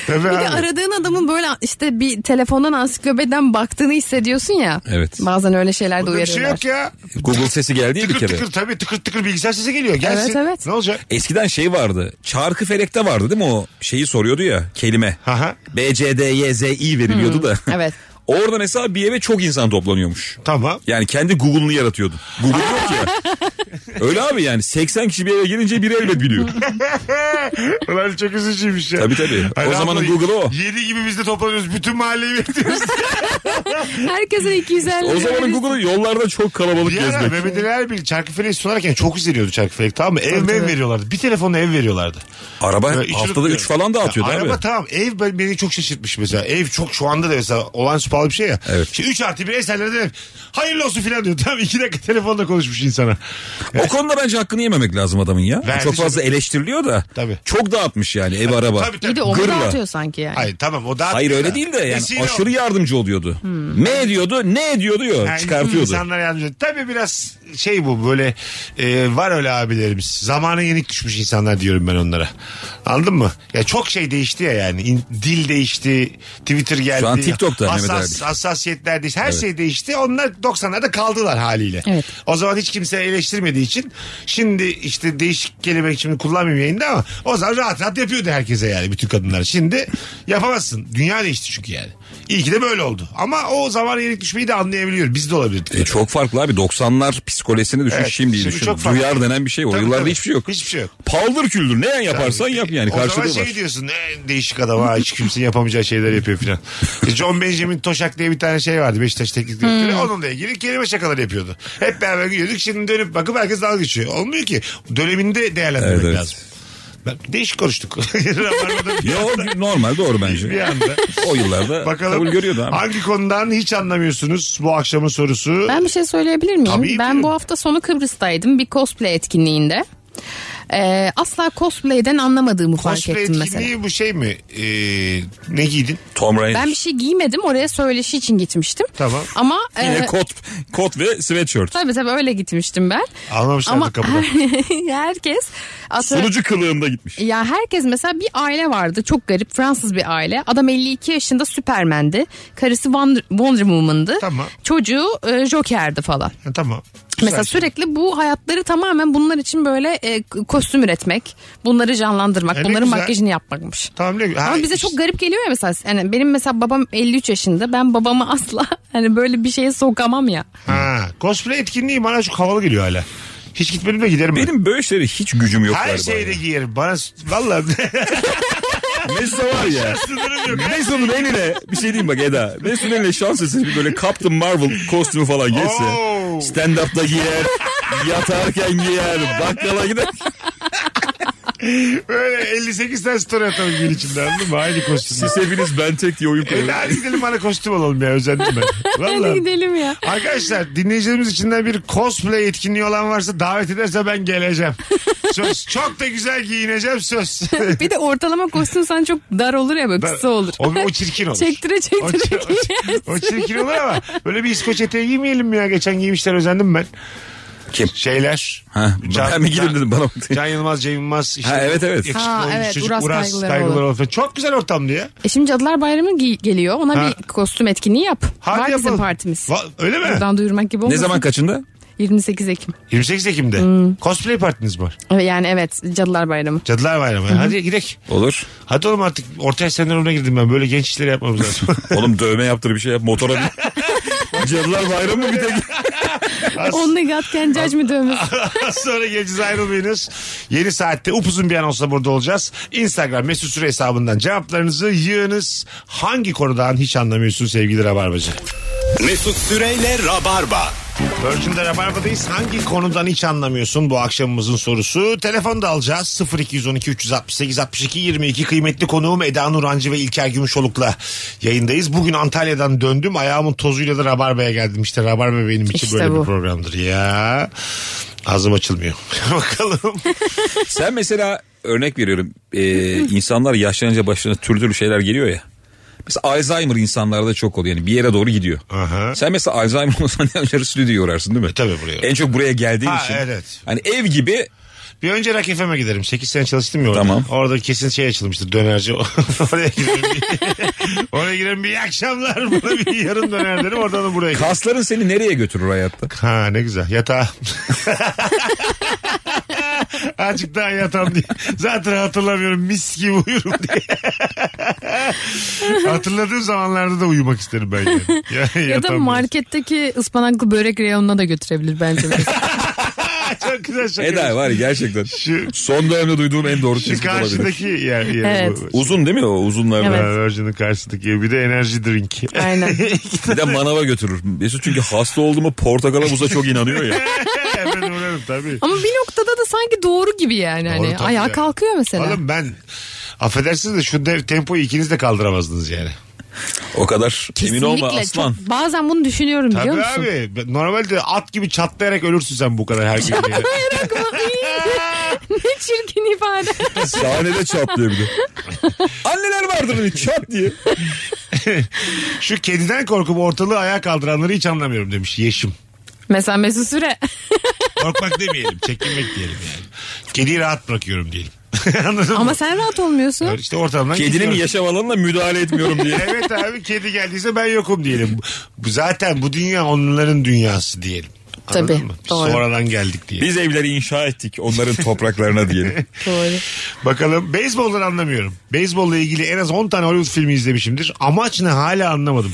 Tabii Bir de abi. aradığın adamın böyle işte bir telefondan ansiklopediden baktığını hissediyorsun ya. Evet. Bazen öyle şeyler de Burada bir şey yok uyarıyorlar. ya. Google sesi geldi ya bir Tıkır kere. tıkır tabii tıkır tıkır bilgisayar sesi geliyor. Gelsin. Evet, evet. Ne olacak? Eskiden şey vardı. Çarkı felekte vardı değil mi o şeyi soruyordu ya kelime. Aha. B, C, D, Y, Z, I veriliyordu da. *laughs* evet. Orada mesela bir eve çok insan toplanıyormuş. Tamam. *laughs* Yani kendi Google'ını yaratıyordu. Google yok ya. Öyle abi yani 80 kişi bir eve girince biri elbet biliyor. Ulan çok üzücüymüş ya. Tabii tabii. O Hayır, zamanın abla, Google'ı o. Yedi gibi biz de toplanıyoruz. Bütün mahalleyi bekliyoruz. Herkese 250 O zamanın veririz. Google'ı yollarda çok kalabalık Bir ara gezmek. Mehmet Ali Erbil Çarkıfele'yi sunarken çok üzülüyordu Çarkıfele. Tamam mı? Ev mev veriyorlardı. Bir telefonu ev veriyorlardu. Araba Böyle içini haftada tutuyorum. 3 falan dağıtıyordu Ya, abi. Araba tamam. Ev ben- beni çok şaşırtmış mesela. Ev çok şu anda da mesela olağanüstü pahalı bir şey ya. Evet. İşte 3 artı 1 eserlerde de hayırlı olsun filan diyor. Tamam 2 dakika telefonla konuşmuş insana. O konuda bence hakkını yememek lazım adamın ya. Verdi çok fazla eleştiriliyor da. Tabii. Çok dağıtmış yani ev araba. Tabii tabii. İyi de onu Gırla. dağıtıyor sanki yani. Hayır tamam o daha... Hayır öyle değil de yani Vesile aşırı oldu. yardımcı oluyordu. Hmm. Ne ediyordu? Ne ediyor diyor. Yani Çıkartıyordu. İnsanlara yardımcı. oluyor. Tabii biraz şey bu böyle e, var öyle abilerimiz. Zamana yenik düşmüş insanlar diyorum ben onlara. Anladın mı? Ya çok şey değişti ya yani. İn- dil değişti. Twitter geldi. Şu an TikTok'ta Mehmet Hassas, abi. hassasiyetler değişti. Her şey değişti. Onlar 90'larda kaldılar haliyle. Evet. O zaman hiç kimse eleştirmediği için şimdi işte değişik kelime şimdi kullanmayayım yayında ama o zaman rahat rahat yapıyordu herkese yani bütün kadınlar. Şimdi yapamazsın. Dünya değişti çünkü yani. İyi ki de böyle oldu. Ama o zaman yenik düşmeyi de anlayabiliyor. Biz de olabilirdik. E, çok farklı abi 90'lar psikolojisini düşün Evet, şimdi, şimdi düşün. çok farklı. Duyar denen bir şey var. Tabii, Yıllarda tabii. hiçbir şey yok. Hiçbir şey yok. Paldır küldür ne yaparsan yap yani o zaman karşılığı şey var. diyorsun ne değişik adam ha hiç kimsenin yapamayacağı şeyler yapıyor filan. E, John Benjamin Toşak diye bir tane şey vardı Beşiktaş teknik Hmm. direktörü. Onunla ilgili kelime şakaları yapıyordu. Hep beraber gülüyorduk şimdi dönüp bakıp herkes dalga geçiyor. Olmuyor ki döneminde değerlendirmek Evet, evet. lazım. Ben, değişik konuştuk. *laughs* *laughs* Rabarba'da bir- Ya o normal doğru bir bence. anda. o *laughs* yıllarda Bakalım kabul görüyordu abi. hangi konudan hiç anlamıyorsunuz bu akşamın sorusu. Ben bir şey söyleyebilir miyim? Tabii, ben buyurun. bu hafta sonu Kıbrıs'taydım bir cosplay etkinliğinde. Ee, asla cosplay'den anlamadığımı fark Cosplay ettim etkinliği mesela. bu şey mi? Ee, ne giydin? Tom Rainer. Ben bir şey giymedim oraya söyleşi için gitmiştim. Tamam. Ama Yine e, kot, kot ve sweatshirt. tabii tabii öyle gitmiştim ben. Anlamışlardı Ama kapıda. *laughs* herkes aslında Sunucu kılığında gitmiş. Ya herkes mesela bir aile vardı çok garip Fransız bir aile. Adam 52 yaşında Süpermen'di. Karısı Wonder, Wonder Woman'dı. Tamam. Çocuğu e, Joker'di falan. Ha, tamam. Mesela Güzel. şey. sürekli bu hayatları tamamen bunlar için böyle e, kostüm üretmek, bunları canlandırmak, E, ne bunların güzel. makyajını yapmakmış. Tamam ne Ama Ha, bize çok işte- garip geliyor ya mesela. Yani benim mesela babam 53 yaşında. Ben babamı asla *laughs* hani böyle bir şeye sokamam ya. Ha, cosplay etkinliği bana çok havalı geliyor hala. Hiç gitmedim de giderim. ben. Benim böyle şeylere hiç gücüm yok Her galiba. şeyi de ya. giyerim. Bana s- vallahi *laughs* Mesut'a var ya. sınırım yok. Mesut'un eline bir şey diyeyim bak Eda. Mesut'un eline şans eseri bir böyle Captain Marvel kostümü falan gelse. Oo. Stand-up'ta giyer. Yatarken giyer. Bakkala gider. Böyle 58 tane story atalım gün içinde anladın mı? Aynı kostüm. Siz hepiniz ben tek diye oyun E, hadi gidelim bana kostüm alalım ya özendim *laughs* ben. Hadi Vallahi. Hani gidelim ya. Arkadaşlar dinleyicilerimiz içinden bir cosplay etkinliği olan varsa davet ederse ben *laughs* geleceğim. Söz. Çok da güzel giyineceğim söz. Bir de ortalama kostüm sana çok dar olur ya böyle kısa olur. O, o çirkin olur. Çektire O, çektire çi- o, giyer. çi- o çirkin olur ama böyle bir İskoç eteği giymeyelim mi ya? Geçen giymişler özendim ben. Kim? Şeyler. Ha, Can- ben mi gidelim dedim bana. baktı. Can Yılmaz, Cem Yılmaz. Işte Ha, evet, evet. yakışıklı Ha, olmuş evet, çocuk, Uras Uras Kaygıları Kaygıları Olaf'ın. Çok güzel ortamdı ya. E şimdi Cadılar Bayramı gi- geliyor. Ona Ha. bir kostüm etkinliği yap. Hadi Var bizim yapalım. partimiz. Va- öyle mi? Buradan duyurmak gibi olmasın. Ne zaman kaçında? 28 Ekim. 28 Ekim'de. Hmm. Cosplay partiniz var. Yani evet Cadılar Bayramı. Cadılar Bayramı. Hadi gidelim. Olur. Hadi oğlum artık orta yaş sendromuna girdim ben. Böyle genç işleri yapmamız lazım. Oğlum dövme yaptır bir şey yap. Motora *laughs* bin. Cadılar bayramı mı bir tek? *laughs* Only God Can Judge mi dövmesi? Az *laughs* sonra geleceğiz ayrılmayınız. Yeni saatte upuzun bir an olsa burada olacağız. Instagram mesut süre hesabından cevaplarınızı yığınız. Hangi konudan hiç anlamıyorsun sevgili Rabarbacı? Mesut Süreyle Rabarba. Virgin'de Rabarba'dayız. Hangi konudan hiç anlamıyorsun bu akşamımızın sorusu? Telefonu da alacağız. 0212 368 62 22 kıymetli konuğum Eda Nurancı ve İlker Gümüşoluk'la yayındayız. Bugün Antalya'dan döndüm. Ayağımın tozuyla da Rabarba'ya geldim. İşte Rabarba benim için İşte böyle bir bu. programdır ya. Ağzım açılmıyor. *laughs* Bakalım. Sen mesela örnek veriyorum. Ee, insanlar yaşlanınca başlarına türlü türlü şeyler geliyor ya. Mesela Alzheimer insanlarda çok oluyor. Yani bir yere doğru gidiyor. Aha. Sen mesela Alzheimer *laughs* olsan ne önce stüdyo uğrarsın değil mi? tabii buraya. En çok buraya geldiğin Ha, için. evet. Hani ev gibi Bir önce Rock FM'e giderim. 8 sene çalıştım ya orada. Tamam. Orada kesin şey açılmıştır dönerci. *laughs* Oraya girerim. *laughs* bir- Oraya girerim bir iyi akşamlar. *laughs* Buna bir yarın döner derim. Oradan da buraya giderim. kasların seni nereye götürür hayatta? Ha ne güzel. Yatağa. *laughs* Azıcık daha yatam diye. Zaten hatırlamıyorum mis gibi uyurum diye. *laughs* Hatırladığım zamanlarda da uyumak isterim ben. Yani. Ya, ya *laughs* da yatam biraz. *laughs* marketteki ıspanaklı börek reyonuna da götürebilir bence. Arkadaşlar. Eda var ya gerçekten. Şu, Son dönemde duyduğum en doğru şu tespit olabilir. karşıdaki yer, yer Evet. bu. Uzun değil mi o uzunlarda? Evet. Ha, Virgin'in karşısındaki bir de enerji *laughs* drink. Aynen. Bir de manava götürür. Mesut çünkü hasta olduğumu portakala buza çok inanıyor ya. Hemen uğrarım tabii. Ama bir noktada da sanki doğru gibi yani. Doğru hani tabii ayağa ya. kalkıyor mesela. Oğlum ben affedersiniz de şu dev tempoyu ikiniz de kaldıramazdınız yani. O kadar Kesinlikle. emin olma çok- aslan. bazen bunu düşünüyorum biliyor Tabii musun? *laughs* abi. Normalde at gibi çatlayarak ölürsün sen bu kadar her *laughs* gün. yani. ne çirkin ifade. Sahnede çatlıyor bir de. Anneler vardır hani çat diye. Şu kediden korkup ortalığı ayağa kaldıranları hiç anlamıyorum demiş Yeşim. mesela Mesut Süre. Korkmak demeyelim. Çekinmek diyelim yani. Kediyi rahat bırakıyorum diyelim. *laughs* Anladın Ama mı? sen rahat olmuyorsun. İşte ortamdan Kedinin gidiyorum. yaşam alanına müdahale *laughs* etmiyorum diye. Evet abi kedi geldiyse ben yokum diyelim. Bu- Zaten bu dünya onların dünyası diyelim. Anladın Tabii, mı? Biz doğru. Sonradan geldik diye. Biz evleri inşa ettik onların topraklarına diyelim. Doğru. Bakalım beyzboldan anlamıyorum. Beyzbolla ilgili en az 10 tane Hollywood filmi izlemişimdir. Amaç ne hala anlamadım.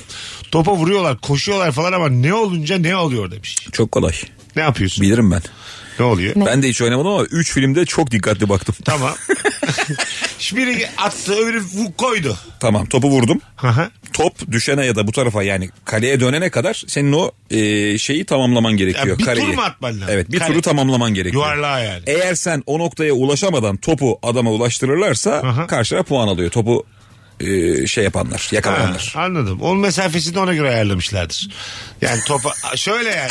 Topa vuruyorlar, koşuyorlar falan ama ne olunca ne oluyor demiş. Çok kolay. Ne yapıyorsun? Bilirim ben. Ne oluyor? Ben de hiç oynamadım ama 3 filmde çok dikkatli baktım. *laughs* Tamam. Şimdi biri attı öbürü vu- koydu. *laughs* Tamam topu vurdum. Aha. Top düşene ya da bu tarafa yani kaleye dönene kadar senin o e, şeyi tamamlaman gerekiyor. Ya bir kareyi. tur mu atman lazım? Evet bir Kale. turu tamamlaman gerekiyor. Yuvarlağa yani. Eğer sen o noktaya ulaşamadan topu adama ulaştırırlarsa Aha. karşıya puan alıyor. Topu e, şey yapanlar Ha, yakalayanlar. anladım. Onun mesafesini de ona göre ayarlamışlardır. Yani topa *laughs* şöyle yani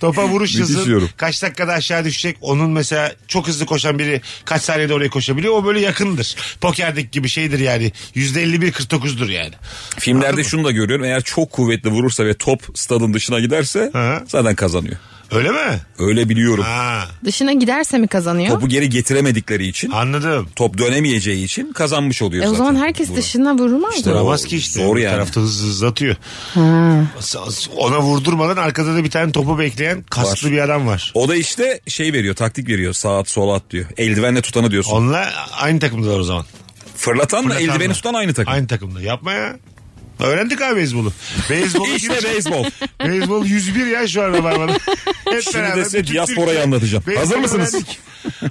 topa vuruş Müthiş hızı yorum. kaç dakikada aşağı düşecek. Onun mesela çok hızlı koşan biri kaç saniyede oraya koşabiliyor. O böyle yakındır. Pokerdeki gibi şeydir yani. %51-49'dur yani. Filmlerde Anladın mı? şunu da görüyorum eğer çok kuvvetli vurursa ve top stadın dışına giderse Hı. zaten kazanıyor. Öyle mi? Öyle biliyorum. Ha, Dışına giderse mi kazanıyor? Topu geri getiremedikleri için anladım. top dönemeyeceği için kazanmış oluyor E o zaten. zaman herkes Bu- dışına vurmaz İşte mı? Vuramaz ki işte. Zor Bir yani. tarafta hızlı hızlı atıyor. Ona vurdurmadan arkada da bir tane topu bekleyen kaslı Var. bir adam var. O da işte şey veriyor taktik veriyor sağ at sol at diyor. Eldivenle tutanı diyorsun. Onlar aynı takımdalar o zaman. Fırlatan da Fırlatan eldiveni mı? tutan aynı takım. Aynı takımda. Yapma ya. Öğrendik abi beyzbolu. Beyzbol *laughs* İşte beyzbol. *laughs* Beyzbol 101 ya şu an *laughs* Rabarba'da. Hep Şimdi beraber de bütün size diasporayı Türkiye- anlatacağım. Beyzbol Hazır mısınız? öğrendik.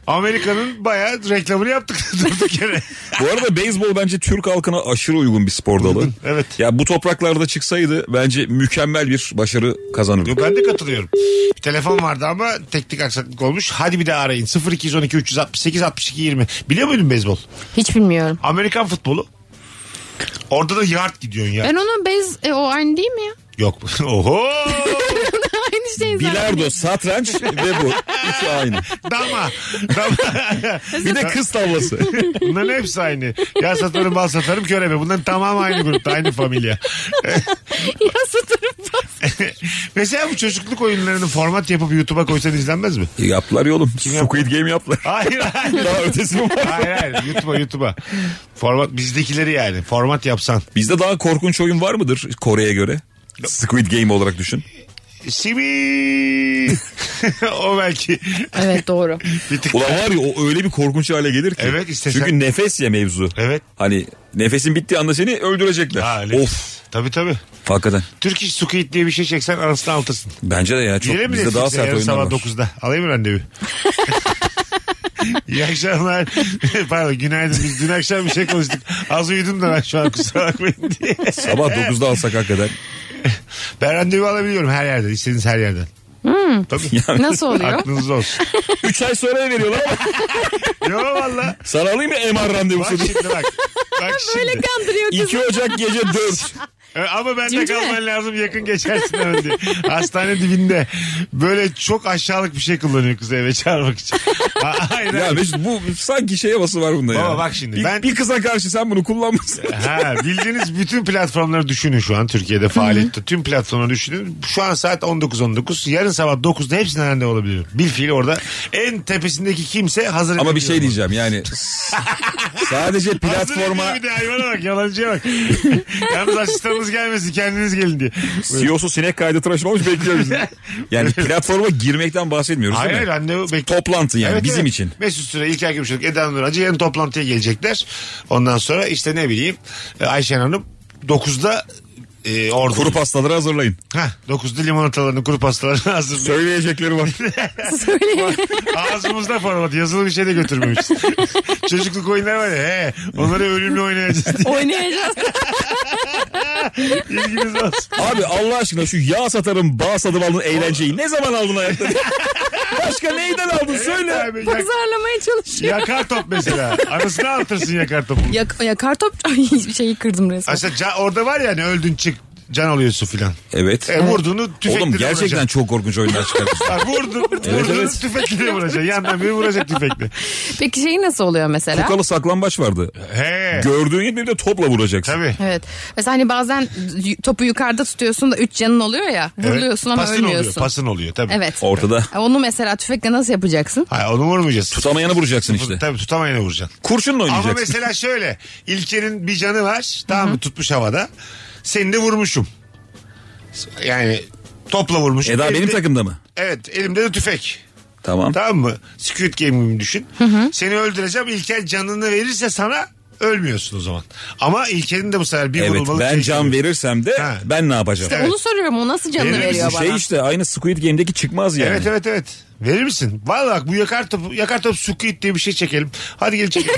Amerika'nın bayağı reklamını yaptık *laughs* durduk yere. Bu arada beyzbol bence Türk halkına aşırı uygun bir spor dalı. evet. Ya bu topraklarda çıksaydı bence mükemmel bir başarı kazanırdı. Yo, ben de katılıyorum. Bir telefon vardı ama teknik aksaklık olmuş. Hadi bir daha arayın. 0212 368 62 20. Biliyor muydun beyzbol? Hiç bilmiyorum. Amerikan futbolu. Orada da yard gidiyorsun ya. Ben onu bez e, o aynı değil mi ya? *laughs* Yok. *laughs* Oho. aynı şey *laughs* zaten. Bilardo, satranç ve bu. Üçü aynı. Dama. Dama. Bir de kız tavlası. Bunların hepsi aynı. Ya satarım bal satarım körebe. Bunların tamamı aynı grupta aynı familya. Ya satarım bas. *laughs* Mesela bu çocukluk oyunlarını format yapıp YouTube'a koysan izlenmez mi? yaptılar ya oğlum. Squid Game *laughs* yaptılar. Hayır hayır. Daha ötesi mi var? hayır hayır YouTube'a YouTube'a. Format bizdekileri yani format yapsan. Bizde daha korkunç oyun var mıdır Kore'ye göre? Squid Game olarak düşün. Simi. *laughs* o belki. Evet doğru. Bir tık. Ulan var ya o öyle bir korkunç hale gelir ki. Evet, istesen- Çünkü nefes ya mevzu. Evet. Hani nefesin bittiği anda seni öldürecekler. Ha, öyle. Of. Tabii tabii. Hakikaten. Türk İş Squid diye bir şey çeksen anasını altırsın. Bence de ya çok Girelim bizde daha sert yarın oyunlar sabah var. 9'da. Alayım mı *laughs* randevu? İyi akşamlar. Pardon günaydın. Biz dün akşam bir şey konuştuk. Az uyudum da ben şu an kusura bakmayın diye. Sabah 9'da alsak *laughs* hakikaten. Ben randevu alabiliyorum her yerden. istediğiniz her yerden. *laughs* Tabii. *laughs* Nasıl Hmm. oluyor? Aklınızda olsun. 3 ay sonra veriyorlar ama Yo *laughs* valla. sana alayım mı MR Bak randevusu? *laughs* şimdi bak. Bak Böyle şimdi. kandırıyor kızı. 2 Ocak gece *laughs* 4. Ee, Ama bende Cimcime. kalman lazım yakın geçersin öyle diye. Hastane dibinde. Böyle çok aşağılık bir şey kullanıyor kızı eve çağırmak *laughs* için. Hayır. Ya hayır. Mesut bu sanki şey havası var bunda ya. Baba bak şimdi, Bir, ben- bir kıza karşı sen bunu kullanmışsın. Ha, bildiğiniz bütün platformları düşünün şu an Türkiye'de faaliyette. Tüm platformları düşünün. Şu an saat 19.19. Yarın sabah 9'da hepsinden halinde olabilirim. Bilfiil orada en tepesindeki kimse hazır Ama bir şey edebiliyor. *laughs* diyeceğim yani. sadece Hazır platforma ediyor Bir de hayvana bak yalancıya bak. *laughs* Yalnız asistanınız gelmesin kendiniz gelin diye. E CEO'su sinek kaydı tıraşı olmuş bekliyor bizi. *laughs* Yani platforma girmekten bahsetmiyoruz Hayır değil hayır hani- mi? randevu bekle. Toplantı yani bizim için. Mesut Süre, İlker Gümüşoluk, Eda Nur Hacı yarın e, toplantıya gelecekler. Ondan sonra işte ne bileyim Ayşen Hanım 9'da e, orada. Kuru pastaları hazırlayın. Heh, 9'da limonatalarını kuru pastalarını *laughs* hazırlayın. Söyleyecekleri var. Söyle. Ağzımızda format yazılı bir şey de götürmemiş. *laughs* Çocukluk oyunları var ya. He, onları ölümlü *laughs* oynayacağız Oynayacağız. diye ilginiz olsun. *laughs* Abi Allah aşkına şu yağ satarım bağ satıp aldın eğlenceyi ne zaman aldın hayatta? *laughs* Başka neyden aldın söyle. Abi, yak- Pazarlamaya çalışıyor. yakar top mesela. Arasına atırsın yakar topu. şey. Ya, ya kartop *laughs* Ay, şeyi kırdım resmen. Aslında ca- orada var ya hani öldün çık can oluyorsun filan. Evet. E, vurduğunu tüfekle Oğlum gerçekten vuracaksın. çok korkunç oyunlar çıkarmışsın. *laughs* Ha, vurdun, Evet, vurduğunu evet. tüfekle vuracaksın. Yandan biri vuracak tüfekle. Peki şey nasıl oluyor mesela? Tokalı saklambaç vardı. He. Gördüğün gibi bir de topla vuracaksın. Tabii. Evet. Mesela hani bazen y- topu yukarıda tutuyorsun da üç canın oluyor ya. Vuruluyorsun Evet. ama pasın ölmüyorsun. Oluyor, pasın oluyor tabii. Evet. Ortada. Onu mesela tüfekle nasıl yapacaksın? Hayır onu vurmayacağız. Tutamayanı vuracaksın işte. Tabii tutamayana vuracaksın. Ama Kurşunla oynayacaksın. mesela şöyle İlker'in bir canı var tamam mı tutmuş havada. Seni de vurmuşum. Yani topla vurmuşum. Eda benim Elimde- takımda mı? Evet elimde de tüfek. Tamam. Tamam mı? Squid Game gibi düşün. Seni öldüreceğim İlker canını verirse sana ölmüyorsun o zaman. Ama İlker'in de bu sefer bir Evet vurulmalık ben şey can geliyor. verirsem de Ha. ben ne yapacağım? Onu soruyorum o nasıl canını Verir veriyor misin? bana? Şey işte aynı Squid Game'deki çıkmaz yani. Evet evet evet. Verir misin? Vallahi bak bu yakar topu, yakar topu squid diye bir şey çekelim. Hadi gel *laughs* çekelim.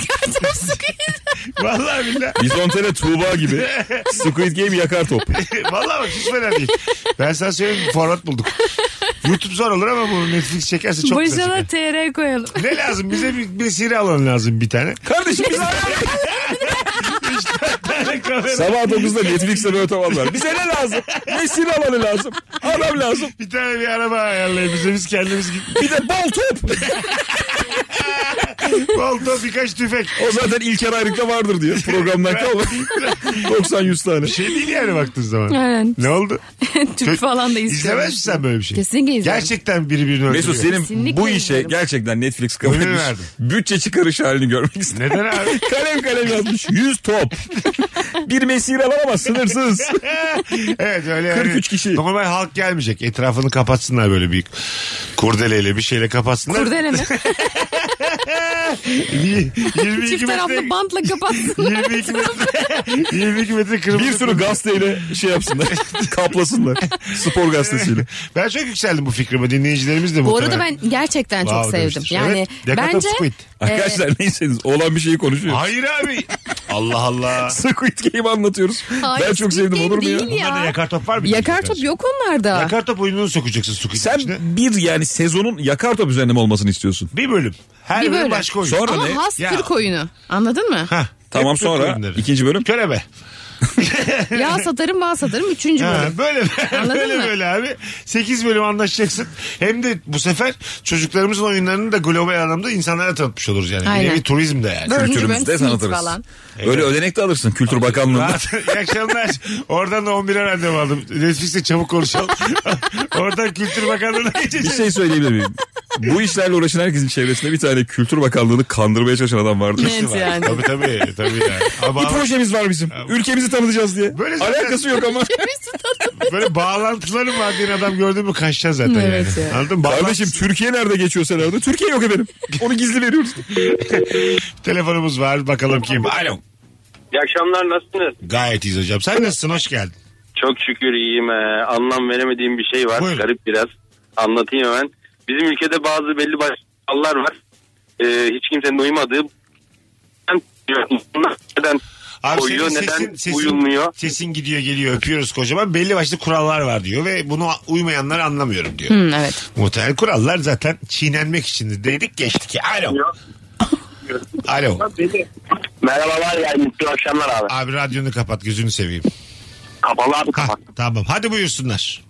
Vallahi billahi. Bizontele *laughs* Tuğba gibi. Squid Game yakar top. Vallahi bak hiç fena değil. Ben sana söyleyeyim format bulduk. YouTube zor olur ama bunu Netflix çekerse çok güzel. Başına çıkar. TR koyalım. *laughs* Ne lazım? Bize bir, bir seri alan lazım bir tane. Kardeşim *laughs* biz sabah 9'da Netflix'te böyle tamam var. Bize ne lazım? Ne silahları lazım? Adam lazım. bir tane bir araba ayarlayın bize. Biz kendimiz git. Bir de bal top. Balta birkaç tüfek. O zaten İlker Ayrık'ta vardır diyor. *laughs* Programdan kalma. 90-100 tane. Şey değil yani baktığın zaman. Aynen. Ne *laughs* oldu? Türk falan da İzlemez izliyorum. misin sen böyle bir şey? Kesinlikle izlerim. *laughs* Gerçekten biri birini öldürüyor. Mesut senin Kesinlikle bu işe izlerim. gerçekten Netflix kabul Ömür etmiş. verdim. Bütçe çıkarış halini *laughs* görmek istedim. Neden *laughs* abi? kalem kalem yazmış. 100 top. bir mesire var ama sınırsız. evet öyle yani. 43 kişi. Normal halk gelmeyecek. Etrafını kapatsınlar böyle bir kurdeleyle bir şeyle kapatsınlar. Kurdele mi? *laughs* Y- 22 Çift metre- taraflı bantla *laughs* kapatsın. 22 metre *laughs* 22 metre kırmızı. bir sürü gazeteyle *laughs* şey yapsınlar. kaplasınlar. Spor gazetesiyle. Ben çok yükseldim bu fikrime. Dinleyicilerimiz de Bu arada muhtemelen. ben gerçekten çok Wow sevdim. demiştir. Yani Evet, Yakata bence Squid. Arkadaşlar neyseniz olan bir şey şeyi konuşuyoruz. Hayır abi. *laughs* Allah Allah. Squid Game anlatıyoruz. Hayır, ben çok Squid sevdim Game olur mu ya? değil ya. Bunlarda yakar top var mı? yakar top yok onlarda. Yakar top oyununu sokacaksın sukuyun Sen içine. bir yani sezonun yakar top üzerinde mi olmasını istiyorsun? Bir bölüm. Her Bir bölüm, bölüm. başka oyun. Sonra- Ama ne? has Ya. Türk oyunu. Anladın mı? Hah. Tamam Hep Türk sonra oyunları. ikinci bölüm. Körebe. ya satarım bağ satarım. Üçüncü Ha, bölüm. böyle Anladın böyle mı? böyle abi. 8 bölüm anlaşacaksın. Hem de bu sefer çocuklarımızın oyunlarını da global anlamda insanlara tanıtmış oluruz yani. Bir Aynen. nevi turizm de yani. Dördüncü Kültürümüzde bölüm tanıtırız. Smith falan. Öyle ödenek de alırsın Kültür Bakanlığı'nda. Rahat- *laughs* İyi akşamlar. Oradan da 11'e randevu aldım. Netflix'te çabuk konuşalım. *laughs* Oradan Kültür Bakanlığı'na bir geçeceğiz. şey söyleyebilir miyim? Bu işlerle uğraşan herkesin çevresinde bir tane Kültür Bakanlığı'nı kandırmaya çalışan adam vardır. Evet yani. şey Tabii tabii. tabii yani. Ama Bir projemiz var bizim. Ülkemizi tanıtacağız diye. Böyle zaten- Alakası yok ama. *laughs* böyle bağlantıların var diyen adam gördün mü kaçacağız zaten Evet yani. ya. Anladın mı? Kardeşim Türkiye nerede geçiyor senaryoda? Türkiye yok efendim. Onu gizli veriyoruz. Telefonumuz var bakalım kim. Alo. İyi akşamlar nasılsınız? Gayet iyiyiz hocam. Sen nasılsın? Hoş geldin. Çok şükür iyiyim. Ee, anlam veremediğim bir şey var. Buyurun. Garip biraz. Anlatayım hemen. Bizim ülkede bazı belli başlı kurallar var. Ee, hiç kimsenin uymadığı neden Abi koyuyor, senin neden sesin, sesin, uyulmuyor? Sesin gidiyor geliyor öpüyoruz kocaman. Belli başlı kurallar var diyor ve bunu uymayanları anlamıyorum diyor. Hmm, evet. Muhtemelen kurallar zaten çiğnenmek içindir. Dedik geçtik. Alo. Alo. Merhabalar yani mutlu akşamlar abi. Abi radyonu kapat gözünü seveyim. Kapalı abi Ha, tamam hadi buyursunlar.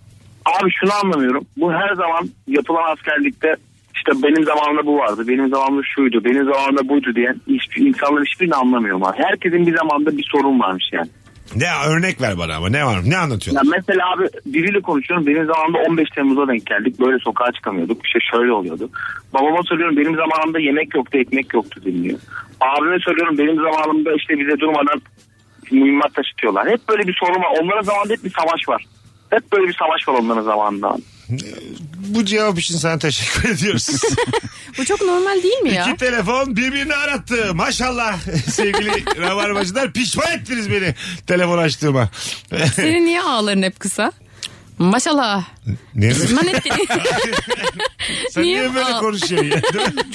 Abi şunu anlamıyorum. Bu her zaman yapılan askerlikte işte benim zamanımda bu vardı, benim zamanımda şuydu, benim zamanımda buydu diyen hiçbir, insanlar hiçbirini anlamıyor. Abi. Herkesin bir zamanda bir sorun varmış yani. Ne örnek ver bana ama ne var ne anlatıyorsun? Ya mesela abi biriyle konuşuyorum. Benim zamanımda 15 Temmuz'a denk geldik. Böyle sokağa çıkamıyorduk. İşte şöyle oluyordu. Babama soruyorum benim zamanımda yemek yoktu, ekmek yoktu dinliyor. Abime soruyorum benim zamanımda işte bize durmadan mühimmat taşıtıyorlar. Hep böyle bir sorun var. Onların zamanında hep bir savaş var. Hep böyle bir savaş var onların zamanında. abi. bu cevap için sana teşekkür *laughs* ediyoruz. Bu çok normal değil mi ya? İki telefon birbirini arattı. Maşallah *laughs* sevgili rabarbacılar pişman ettiniz beni telefon açtığıma. *laughs* Senin niye ağların hep kısa? Maşallah. ne? Lan *laughs* hep- Sen niye, niye böyle ağ- konuşuyorsun ya?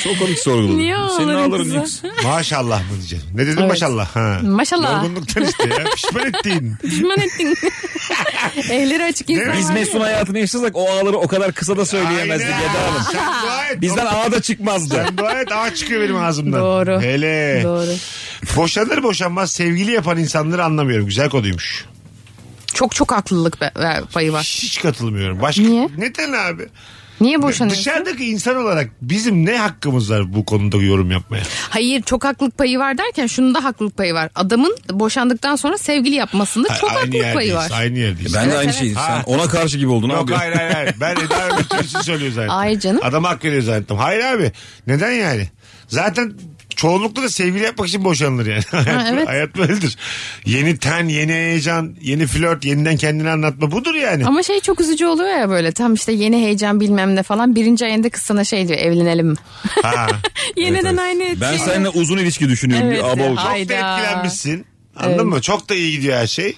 Çok komik sorguladın. Niye Senin ağlarım ağların kıza? kısa. Maşallah mı diyeceğim? Ne dedim Evet. maşallah? Ha. Maşallah. Yorgunluktan işte ya. Pişman ettiğin. Pişman ettin. Elleri açık insan Biz var ya. Mesut'un hayatını yaşasak o ağları o kadar kısa da *laughs* söyleyemezdik Aynen. Eda Hanım. Sen dua et. Bizden ağa da çıkmazdı. Sen dua et ağ çıkıyor benim ağzımdan. Doğru. Hele. Doğru. Boşanır boşanmaz sevgili yapan insanları anlamıyorum. Güzel konuymuş. Çok çok haklılık be- be- payı var. Hiç katılmıyorum. Başka Niye? Neden abi? Niye boşanıyorsun? Dışarıdaki insan olarak bizim ne hakkımız var bu konuda yorum yapmaya? Hayır çok haklılık payı var derken şunun da haklılık payı var. Adamın boşandıktan sonra sevgili yapmasında çok aynı haklılık payı yerdeyiz. var. Aynı yerdeyiz. Ben de aynı şeyi. Ha. Sen ona karşı gibi oldun Yok abi. hayır hayır hayır. Ben Eda *laughs* Ömürtürk'ü söylüyor zannettim. Ay canım. Adam hak veriyor zannettim. Hayır abi. Neden yani? Zaten çoğunlukla da sevgili yapmak için boşanılır yani. *laughs* Hayat- evet. Hayat böyledir. Yeni ten, yeni heyecan, yeni flört, yeniden kendini anlatma budur yani. Ama şey çok üzücü oluyor ya böyle tam işte yeni heyecan bilmem ne falan birinci ayında kız sana şey diyor evlenelim. Ha. *laughs* Yeniden aynı Ben şey. seninle uzun ilişki düşünüyorum. Evet, bir aba ya. olacak. Çok da Hayda. etkilenmişsin. Anladın Evet. mı? Çok da iyi gidiyor her şey.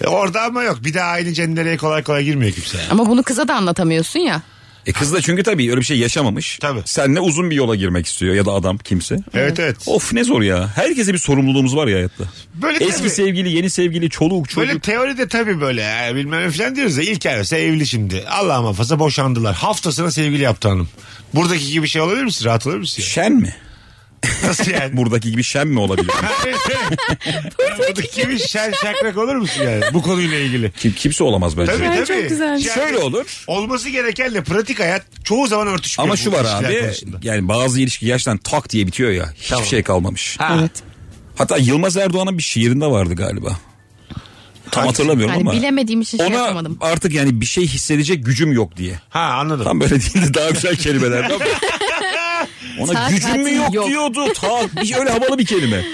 E, orada ama yok. Bir daha aynı cendereye kolay kolay girmiyor kimse. Ama bunu kıza da anlatamıyorsun ya. E kız da çünkü tabii öyle bir şey yaşamamış. Tabii. Seninle uzun bir yola girmek istiyor ya da adam kimse. Evet evet. Of ne zor ya. Herkese bir sorumluluğumuz var ya hayatta. Böyle *laughs* Eski tabii. sevgili, yeni sevgili, çoluk, çocuk. Böyle teoride tabii böyle ya, bilmem ne falan diyoruz ya ilk evlisi evli şimdi. Allah muhafaza boşandılar. Haftasına sevgili yaptı hanım. Buradaki gibi şey olabilir misin? Rahat olabilir misin? Şen mi? *laughs* Nasıl yani? Buradaki gibi şen mi olabilir? Buradaki gibi şen şakrak olur musun yani bu konuyla ilgili? *laughs* Kim, kimse olamaz bence. Tabii Ay, tabii. çok güzelmiş. Yani Şöyle olur. Olması gerekenle pratik hayat çoğu zaman örtüşmüyor. Ama bu şu var ilişkiler abi konusunda. yani bazı ilişki gerçekten tak diye bitiyor ya. Hiçbir şey kalmamış. Evet. Hatta Yılmaz Erdoğan'ın bir şiirinde vardı galiba. Tam Hangisi? hatırlamıyorum Yani ama. bilemediğim için şey Ona yapamadım. artık yani bir şey hissedecek gücüm yok diye. Ha anladım. Tam böyle değil de daha güzel kelimelerden. *laughs* Ona Saat gücüm mü tatil yok, yok. diyordu. Ta, bir- öyle havalı bir kelime.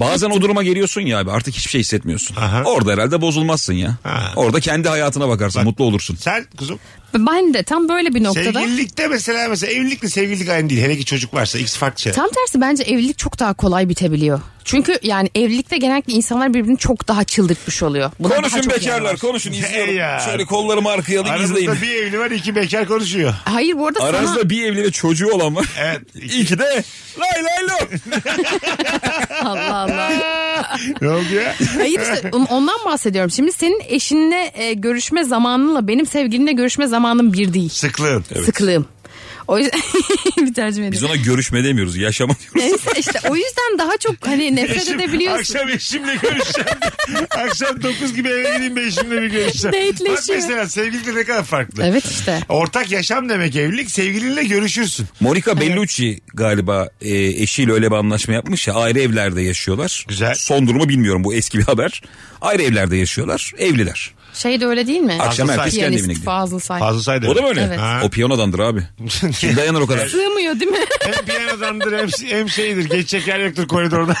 Bazen o duruma geliyorsun ya abi artık hiçbir şey hissetmiyorsun. Aha. Orada herhalde bozulmazsun ya. Ha. Orada kendi hayatına bakarsın mutlu olursun. Sen kuzum Ben de tam böyle bir noktada. sevgililikte mesela mesela evlilikle sevgililik aynı değil. Hele ki çocuk varsa ikisi farklı şey. şeyler. Tam tersi bence evlilik çok daha kolay bitebiliyor. Çünkü yani evlilikte genellikle insanlar birbirini çok daha çıldırtmış oluyor. Buna daha konuşun çok bekarlar yarar. konuşun izliyorum. Hey ya. Şöyle kollarımı arkaya alayım izleyin. Aranızda bir evli var iki bekar konuşuyor. Hayır bu arada sana Aranızda bir evli ve çocuğu olan var. *laughs* Evet. İki de lay lay lo. Allah Allah. ne oldu ya? *laughs* Hayır *laughs* işte on- ondan bahsediyorum. Şimdi senin eşinle e, görüşme zamanınla benim sevgilimle görüşme zamanım bir değil. Sıklığın. Sıklığım. O yüzden *laughs* bir tercüme Biz edeyim. ona görüşme demiyoruz yaşama diyoruz. Neyse işte o yüzden daha çok hani nefret edebiliyorsun. Akşam eşimle görüşeceğim. *laughs* akşam 9 gibi eve gideyim ben eşimle bir görüşeceğim. Bak Dateleşiyor. mesela sevgililikle ne kadar farklı. Evet işte. Ortak yaşam demek evlilik sevgilinle görüşürsün. Monica Bellucci galiba e, eşiyle öyle bir anlaşma yapmış ya ayrı evlerde yaşıyorlar. Güzel. Son durumu bilmiyorum bu eski bir haber. Ayrı evlerde yaşıyorlar evliler. Şey de öyle değil mi? Akşam Fazıl herkes Say. kendi evine Piyanist gidiyor. Fazıl Say. Fazla saydı. O da böyle. Evet. O piyanodandır abi. *laughs* Kim dayanır o kadar? Sığmıyor değil mi? hem piyanodandır hem, şey, hem şeydir. Geçecek yer yoktur koridorda.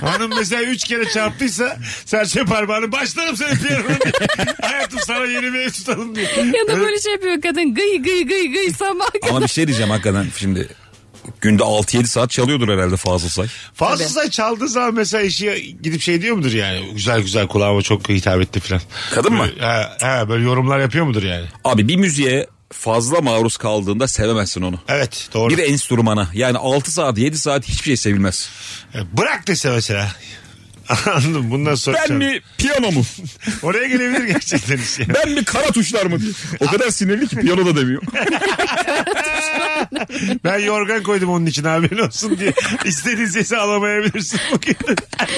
Hanım mesela üç kere çarptıysa serçe parmağını başlarım seni piyanonun. *laughs* Hayatım sana yeni bir ev tutalım diye. *laughs* ya da böyle şey yapıyor kadın gıy gıy gıy gıy sabah Ama bir şey diyeceğim hakikaten şimdi günde 6-7 saat çalıyordur herhalde Fazıl Say. Fazla say çaldığı zaman mesela işi gidip şey diyor mudur yani? Güzel güzel kulağıma çok hitap etti falan. Kadın mı? Böyle- Ha, ha, böyle yorumlar yapıyor mudur yani? Abi bir müziğe fazla maruz kaldığında sevemezsin onu. Evet doğru. Bir enstrümana yani 6 saat 7 saat hiçbir şey sevilmez. Ya E, Bırak dese mesela. *laughs* Anladın mı? Bundan sonra. Ben mi piyano mu? Oraya gelebilir gerçekten iş yani. Ben mi kara tuşlar mı? diye. O kadar sinirli ki piyano da *laughs* demiyor. Ben yorgan koydum onun için haberin olsun diye. İstediğin sesi alamayabilirsin bugün.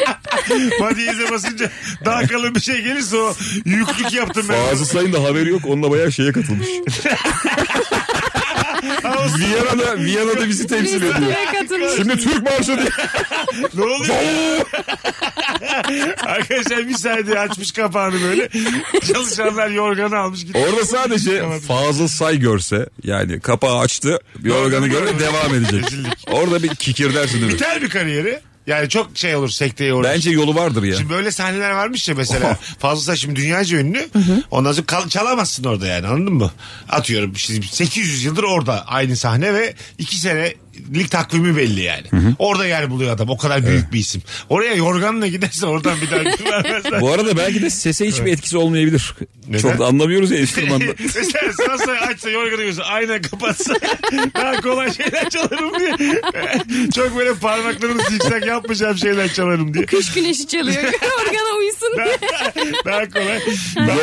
*laughs* Madiyeze basınca daha kalın bir şey gelirse o yüklük yaptım ben. Fazıl Say'ın da haberi yok. Onunla bayağı şeye katılmış. *laughs* Viyana'da, Viyana'da bizi temsil ediyor. Şimdi Türk marşı diye. ne oluyor? *laughs* Arkadaşlar bir saniye açmış kapağını böyle. Çalışanlar yorganı almış gitti. Orada sadece Fazıl Say görse yani kapağı açtı bir organı görüp devam edecek. Orada bir kikir dersin değil mi? Biter bir kariyeri. Yani çok şey olur sekteye uğrar. Bence yolu vardır ya. Şimdi böyle sahneler varmış ya mesela. Fazla şimdi dünyaca ünlü. Ondan sonra kal- çalamazsın orada yani anladın mı? Atıyorum şimdi 800 yıldır orada aynı sahne ve 2 senelik takvimi belli yani. Orada yer buluyor adam. O kadar büyük bir isim. Oraya yorganla giderse oradan bir daha gün vermezler. Bu arada belki de sese hiçbir etkisi olmayabilir. Neden? Çok da anlamıyoruz *laughs* ya enstrümanda. Mesela sana sonra açsa yorganı görse aynen kapatsa daha kolay şeyler çalarım diye. Çok böyle parmaklarını zikzak yapmayacağım şeyler çalarım diye. Kış güneşi çalıyor. *laughs* Organa uyusun diye. Daha kolay.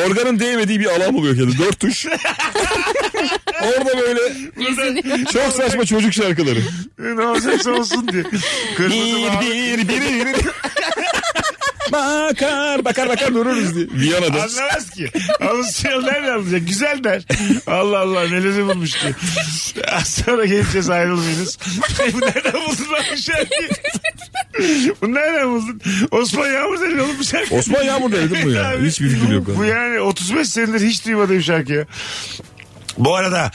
Yorganın değmediği bir alan buluyor kendini. *laughs* Dört tuş. Orada böyle çok saçma çocuk şarkıları. Ne olacaksa olsun diye. Kırmızı mavi. bir biri *laughs* biri. bakar bakar bakar dururuz diye. Viyana'da. Anlamaz ki. Avusturyalı nereden anlayacak? Güzel der. Allah Allah melezi bulmuş ki. Az sonra geleceğiz ayrılmayınız. Bu nereden buldun lan bu şarkıyı? Bu nereden buldun? Osman Yağmur dedi oğlum bu şarkı. Osman Yağmur da dedim bu ya. Abi, Hiçbir fikrim yok. Bu yani 35 senedir hiç duymadığım şarkı ya. Bu arada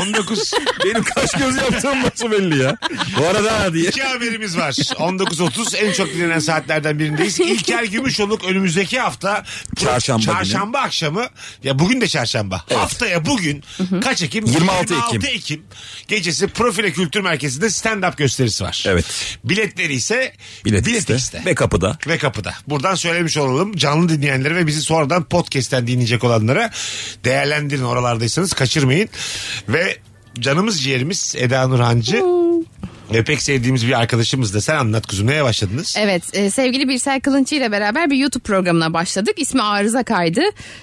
19 Benim kaş göz yaptığım nasıl belli ya. Bu arada ha diye. İki haberimiz var. 19.30 en çok dinlenen saatlerden birindeyiz. İlker Gümüşoluk önümüzdeki hafta Çarşamba günü. çarşamba akşamı ya bugün de çarşamba. Haftaya bugün kaç Ekim? 26 Ekim. gecesi Profile Kültür Merkezi'nde stand-up gösterisi var. Evet. Biletleri ise Bilet, Bilet, işte. X'te Ve kapıda. ve kapıda. Buradan söylemiş olalım canlı dinleyenlere ve bizi sonradan podcast'ten dinleyecek olanlara değerlendirin oralardaysanız kaçırmayın. Ve canımız ciğerimiz Eda Nurhancı ve pek sevdiğimiz bir arkadaşımız da sen anlat kuzum neye başladınız? Evet e, sevgili Birsel Kılınçı ile beraber bir YouTube programına başladık. İsmi Arıza Kaydı.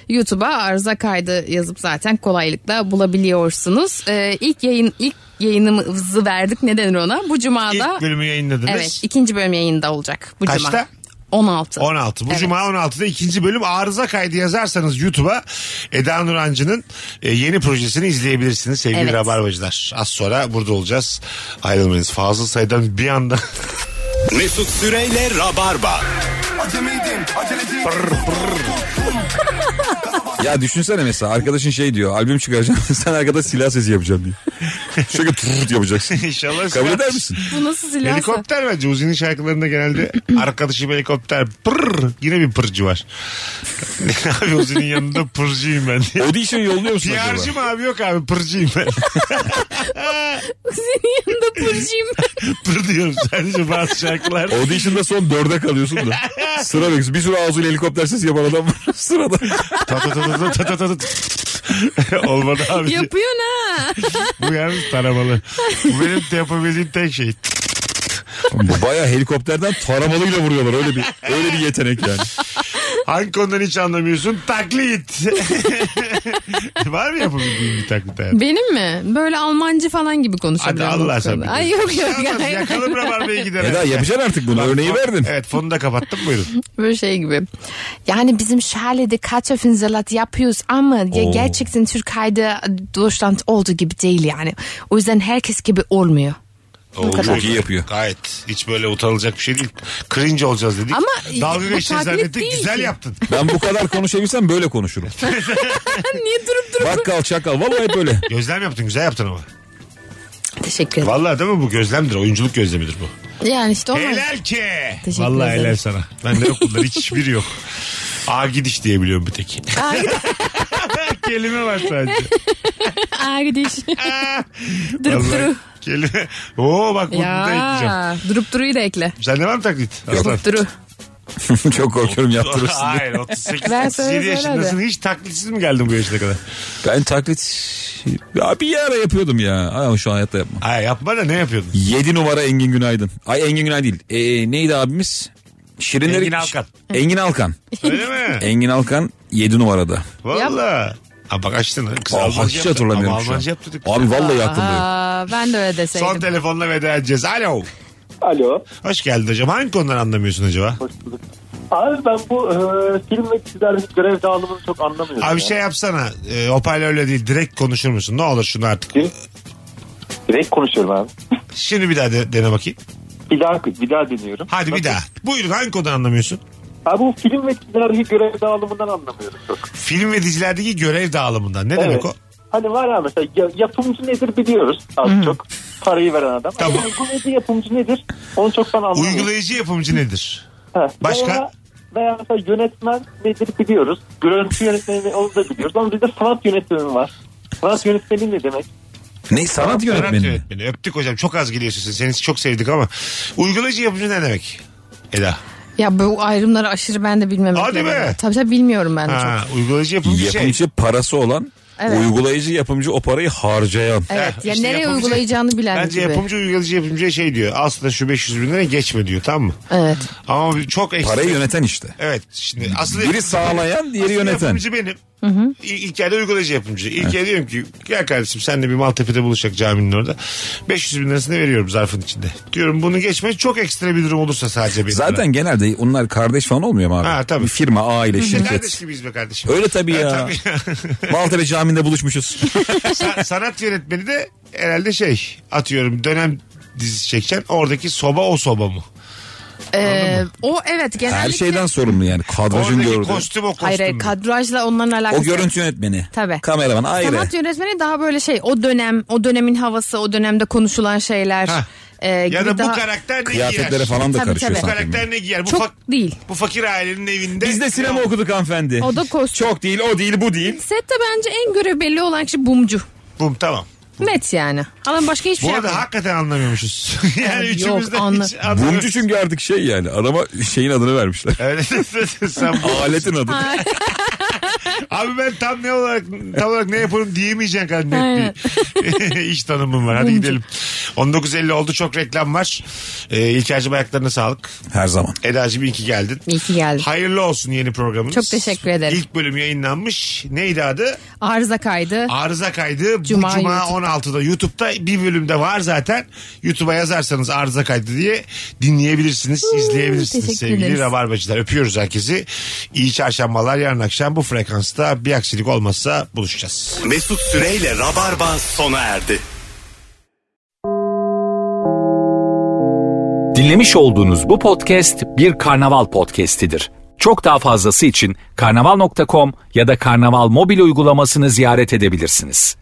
YouTube'a Arıza Kaydı yazıp zaten kolaylıkla bulabiliyorsunuz. E, ilk yayın ilk yayınımızı verdik. Ne denir ona? Bu cumada. İlk bölümü yayınladınız. Evet ikinci bölüm yayında olacak bu cuma. Kaçta? 16. 16. Bu Evet. cuma 16'da ikinci bölüm arıza kaydı yazarsanız YouTube'a Eda Nurancı'nın e, yeni projesini izleyebilirsiniz sevgili Evet. Rabarbacılar. Az sonra burada olacağız. Ayrılmayınız. Fazıl Say'dan bir anda *laughs* Mesut Süreyle Rabarba. Ya düşünsene mesela arkadaşın şey diyor albüm çıkaracağım *laughs* sen arkada silah sesi yapacağım diyor. Şöyle tut yapacaksın. inşallah Kabul eder misin? Bu nasıl silahsa? Helikopter bence Uzi'nin şarkılarında *clears throat* genelde arkadaşım helikopter pırr yine bir pırcı var. *laughs* abi Uzi'nin yanında pırcıyım ben diye. Audition yolluyor musun acaba? PR'cı mı abi yok abi pırcıyım *laughs* ben. *laughs* Senin *laughs* yanında pırcıyım. pır diyorum sadece bazı şarkılar. Audition'da son dörde *laughs* kalıyorsun da. Sıra bekliyorsun. Bir sürü ağzıyla helikopter sesi yapan adam var *laughs* sırada. Ta ta ta ta ta ta ta ta. *laughs* Olmadı abi. Yapıyorsun ha. Bu yalnız taramalı. Bu benim de yapabildiğim tek şey. Bu Bayağı helikopterden taramalıyla vuruyorlar. Öyle bir öyle bir yetenek yani. Hangi konudan hiç anlamıyorsun? Taklit. *laughs* Var mı yapabildiğin bir taklit hayatım? Benim mi? Böyle Almancı falan gibi konuşabiliyorum. Hadi bu Allah konuda. sen bilir. Ay yok yok. Yakalım, hayır. Yakalım Rabarba'yı gider. Eda yapacaksın artık bunu. Örneği verdin. Evet fonu da kapattım buyurun. *laughs* Böyle şey gibi. Yani bizim şalede Kartoffelsalat yapıyoruz ama ya Oo. gerçekten Türkiye'de Deutschland olduğu gibi değil yani. O yüzden herkes gibi olmuyor. Oo, kadar. *laughs* çok iyi yapıyor. Gayet. Hiç böyle utanılacak bir şey değil. Cringe olacağız dedik. Ama Dalga bu geçeceğiz taklit zannettik. değil Güzel ki. yaptın. Ben bu kadar konuşabilsem böyle konuşurum. Niye durup durup? Bakkal çakal. Vallahi hep böyle. *laughs* Gözlem yaptın. Güzel yaptın ama. Teşekkür ederim. Vallahi değil mi bu gözlemdir. Oyunculuk gözlemidir bu. Yani işte olmaz. Helal ki. Teşekkür Vallahi ederim. helal sana. Bende yok bunlar. Hiçbiri yok. A gidiş diye biliyorum bir tek. *laughs* Kelime var *laughs* sadece. *laughs* Arkadaş. durup Vallahi duru. Kelime. Oo bak bunu da ekleyeceğim. Ya durup duruyu da ekle. Sende var mı taklit? Aslan? Durup duru. Çok korkuyorum yaptırırsın diye. Hayır 38 Ben söyle 37 söyle yaşındasın hiç taklitsiz mi geldin bu yaşına kadar? Ben taklit... Ya bir ara yapıyordum ya. Ama şu an hayatta yapmam. Ay yapma da ne yapıyordun? 7 numara Engin Günaydın. Ay Engin Günaydın değil. Ee, neydi abimiz? Şirinleri... Engin Alkan. Engin Alkan. Öyle *laughs* mi? Engin Alkan 7 numarada. Valla. Ha bak açtın. ha. Kız Aa, Almanca hiç yaptı. hatırlamıyorum Ama şu an. Almanca yaptırdık. Abi vallahi aklımda yok. Aa, ben de öyle deseydim. Son telefonla veda edeceğiz. Alo. Alo. Hoş geldin hocam. Hangi konuları anlamıyorsun acaba? Hoş bulduk. Abi ben bu e, film ve dizilerdeki görev dağılımını çok anlamıyorum. Abi ya. şey yapsana. E, hoparlörle değil direkt konuşur musun? Ne olur şunu artık. Direkt konuşuyorum abi. Şimdi bir daha de- dene bakayım. Bir daha, bir daha deniyorum. Hadi bir Nasıl? daha. Buyurun hangi konudan anlamıyorsun? Abi bu film ve dizilerdeki görev dağılımından anlamıyorum çok. Film ve dizilerdeki görev dağılımından. Ne demek o? Hani var ya mesela ya- yapımcı nedir biliyoruz az çok. parayı veren adam. Tamam. Ama uygulayıcı yapımcı nedir? Onu çok ben anlamıyorum. Uygulayıcı yapımcı nedir? Ha, Başka? Veya, veya mesela yönetmen nedir biliyoruz. Görüntü yönetmeni onu da biliyoruz. Ama bizde sanat yönetmeni var. Sanat yönetmeni ne demek? Ne sanat Sanat yönetmeni mi? yönetmeni. Öptük hocam çok az geliyorsun sen. Seni çok sevdik ama. Uygulayıcı yapımcı ne demek? Eda. Ya bu ayrımları aşırı ben de bilmem. Hadi lazım. be. Tabii tabii bilmiyorum ben de çok. Ha, uygulayıcı yapımcı, şey. Yapımcı parası olan Evet. uygulayıcı yapımcı o parayı harcayan. Evet. Heh, ya Eh, işte nereye yapımcı- uygulayacağını bilen Bence gibi. yapımcı uygulayıcı yapımcıya şey diyor. Aslında şu 500 bin lira geçme diyor tamam mı? Evet. Ama çok ekstra. Parayı yöneten işte. Evet şimdi aslında Biri sağlayan diğeri yöneten. yapımcı benim. İlk, ilk yerde uygulayıcı yapımcı. İlk yerde diyorum ki gel kardeşim senle bir Maltepe'de buluşacak caminin orada. 500 bin lirasını veriyorum zarfın içinde. Diyorum bunu geçme çok ekstra bir durum olursa sadece benim. Zaten genelde onlar kardeş falan olmuyor mu abi? Ha, tabii. Bir firma, aile, Biz de Şey, kardeş şirket. gibiyiz be kardeşim. Öyle tabii ya. *laughs* Maltepe Camii'nde buluşmuşuz. Sa- sanat yönetmeni de herhalde şey atıyorum dönem dizisi çekeceksin. Oradaki soba o soba mı? Ee, o evet genellikle. Her şeyden sorumlu yani. Kadrajın Oradaki gördüğü. kostüm o Hayır, kostüm. hayır mü? kadrajla onların alakası. O yok. görüntü yönetmeni. Tabii. Kameraman ayrı. Sanat yönetmeni daha böyle şey o dönem o dönemin havası o dönemde konuşulan şeyler. Ha. e, ya gibi da bu daha- karakter ne Kıyafetlere giyer? falan da Tabii, karışıyor tabii. Bu sanki. karakter ne giyer? Bu, Çok fak- değil. bu fakir ailenin evinde. Biz de sinema okuduk hanımefendi. O da kostüm. Çok değil, o değil, bu değil. Sette bence en görev belli olan kişi bumcu. Bum tamam. Net yani. Adam başka hiçbir Bu şey arada yapmıyor. hakikaten anlamıyormuşuz. *laughs* yani Abi yok, üçümüz de anla- hiç anlamıyoruz. Bumcu çünkü artık şey yani. Adama şeyin adını vermişler. Öyle *laughs* sen bu- Aletin adını. Abi ben tam ne olarak tam olarak ne yaparım diyemeyeceksin kadar net bir *laughs* iş tanımım var. Hadi gidelim. 19.50 oldu çok reklam var. Ee, İlker'cim ayaklarına sağlık. Her zaman. Eda'cığım iyi ki geldin. İyi ki geldin. Hayırlı olsun yeni programınız. Çok teşekkür ederim. İlk bölüm yayınlanmış. Neydi adı? Arıza kaydı. Arıza kaydı. Cuma Bu cuma YouTube. 16'da YouTube'da bir bölümde var zaten. YouTube'a yazarsanız arıza kaydı diye dinleyebilirsiniz, izleyebilirsiniz teşekkür sevgili ederiz. Rabarbacılar. Öpüyoruz herkesi. İyi çarşambalar. Yarın akşam bu frekansta bir aksilik olmazsa buluşacağız. Mesut Süreyle Rabarba sona erdi. Dinlemiş olduğunuz bu podcast bir karnaval podcastidir. Çok daha fazlası için karnaval.com ya da karnaval mobil uygulamasını ziyaret edebilirsiniz.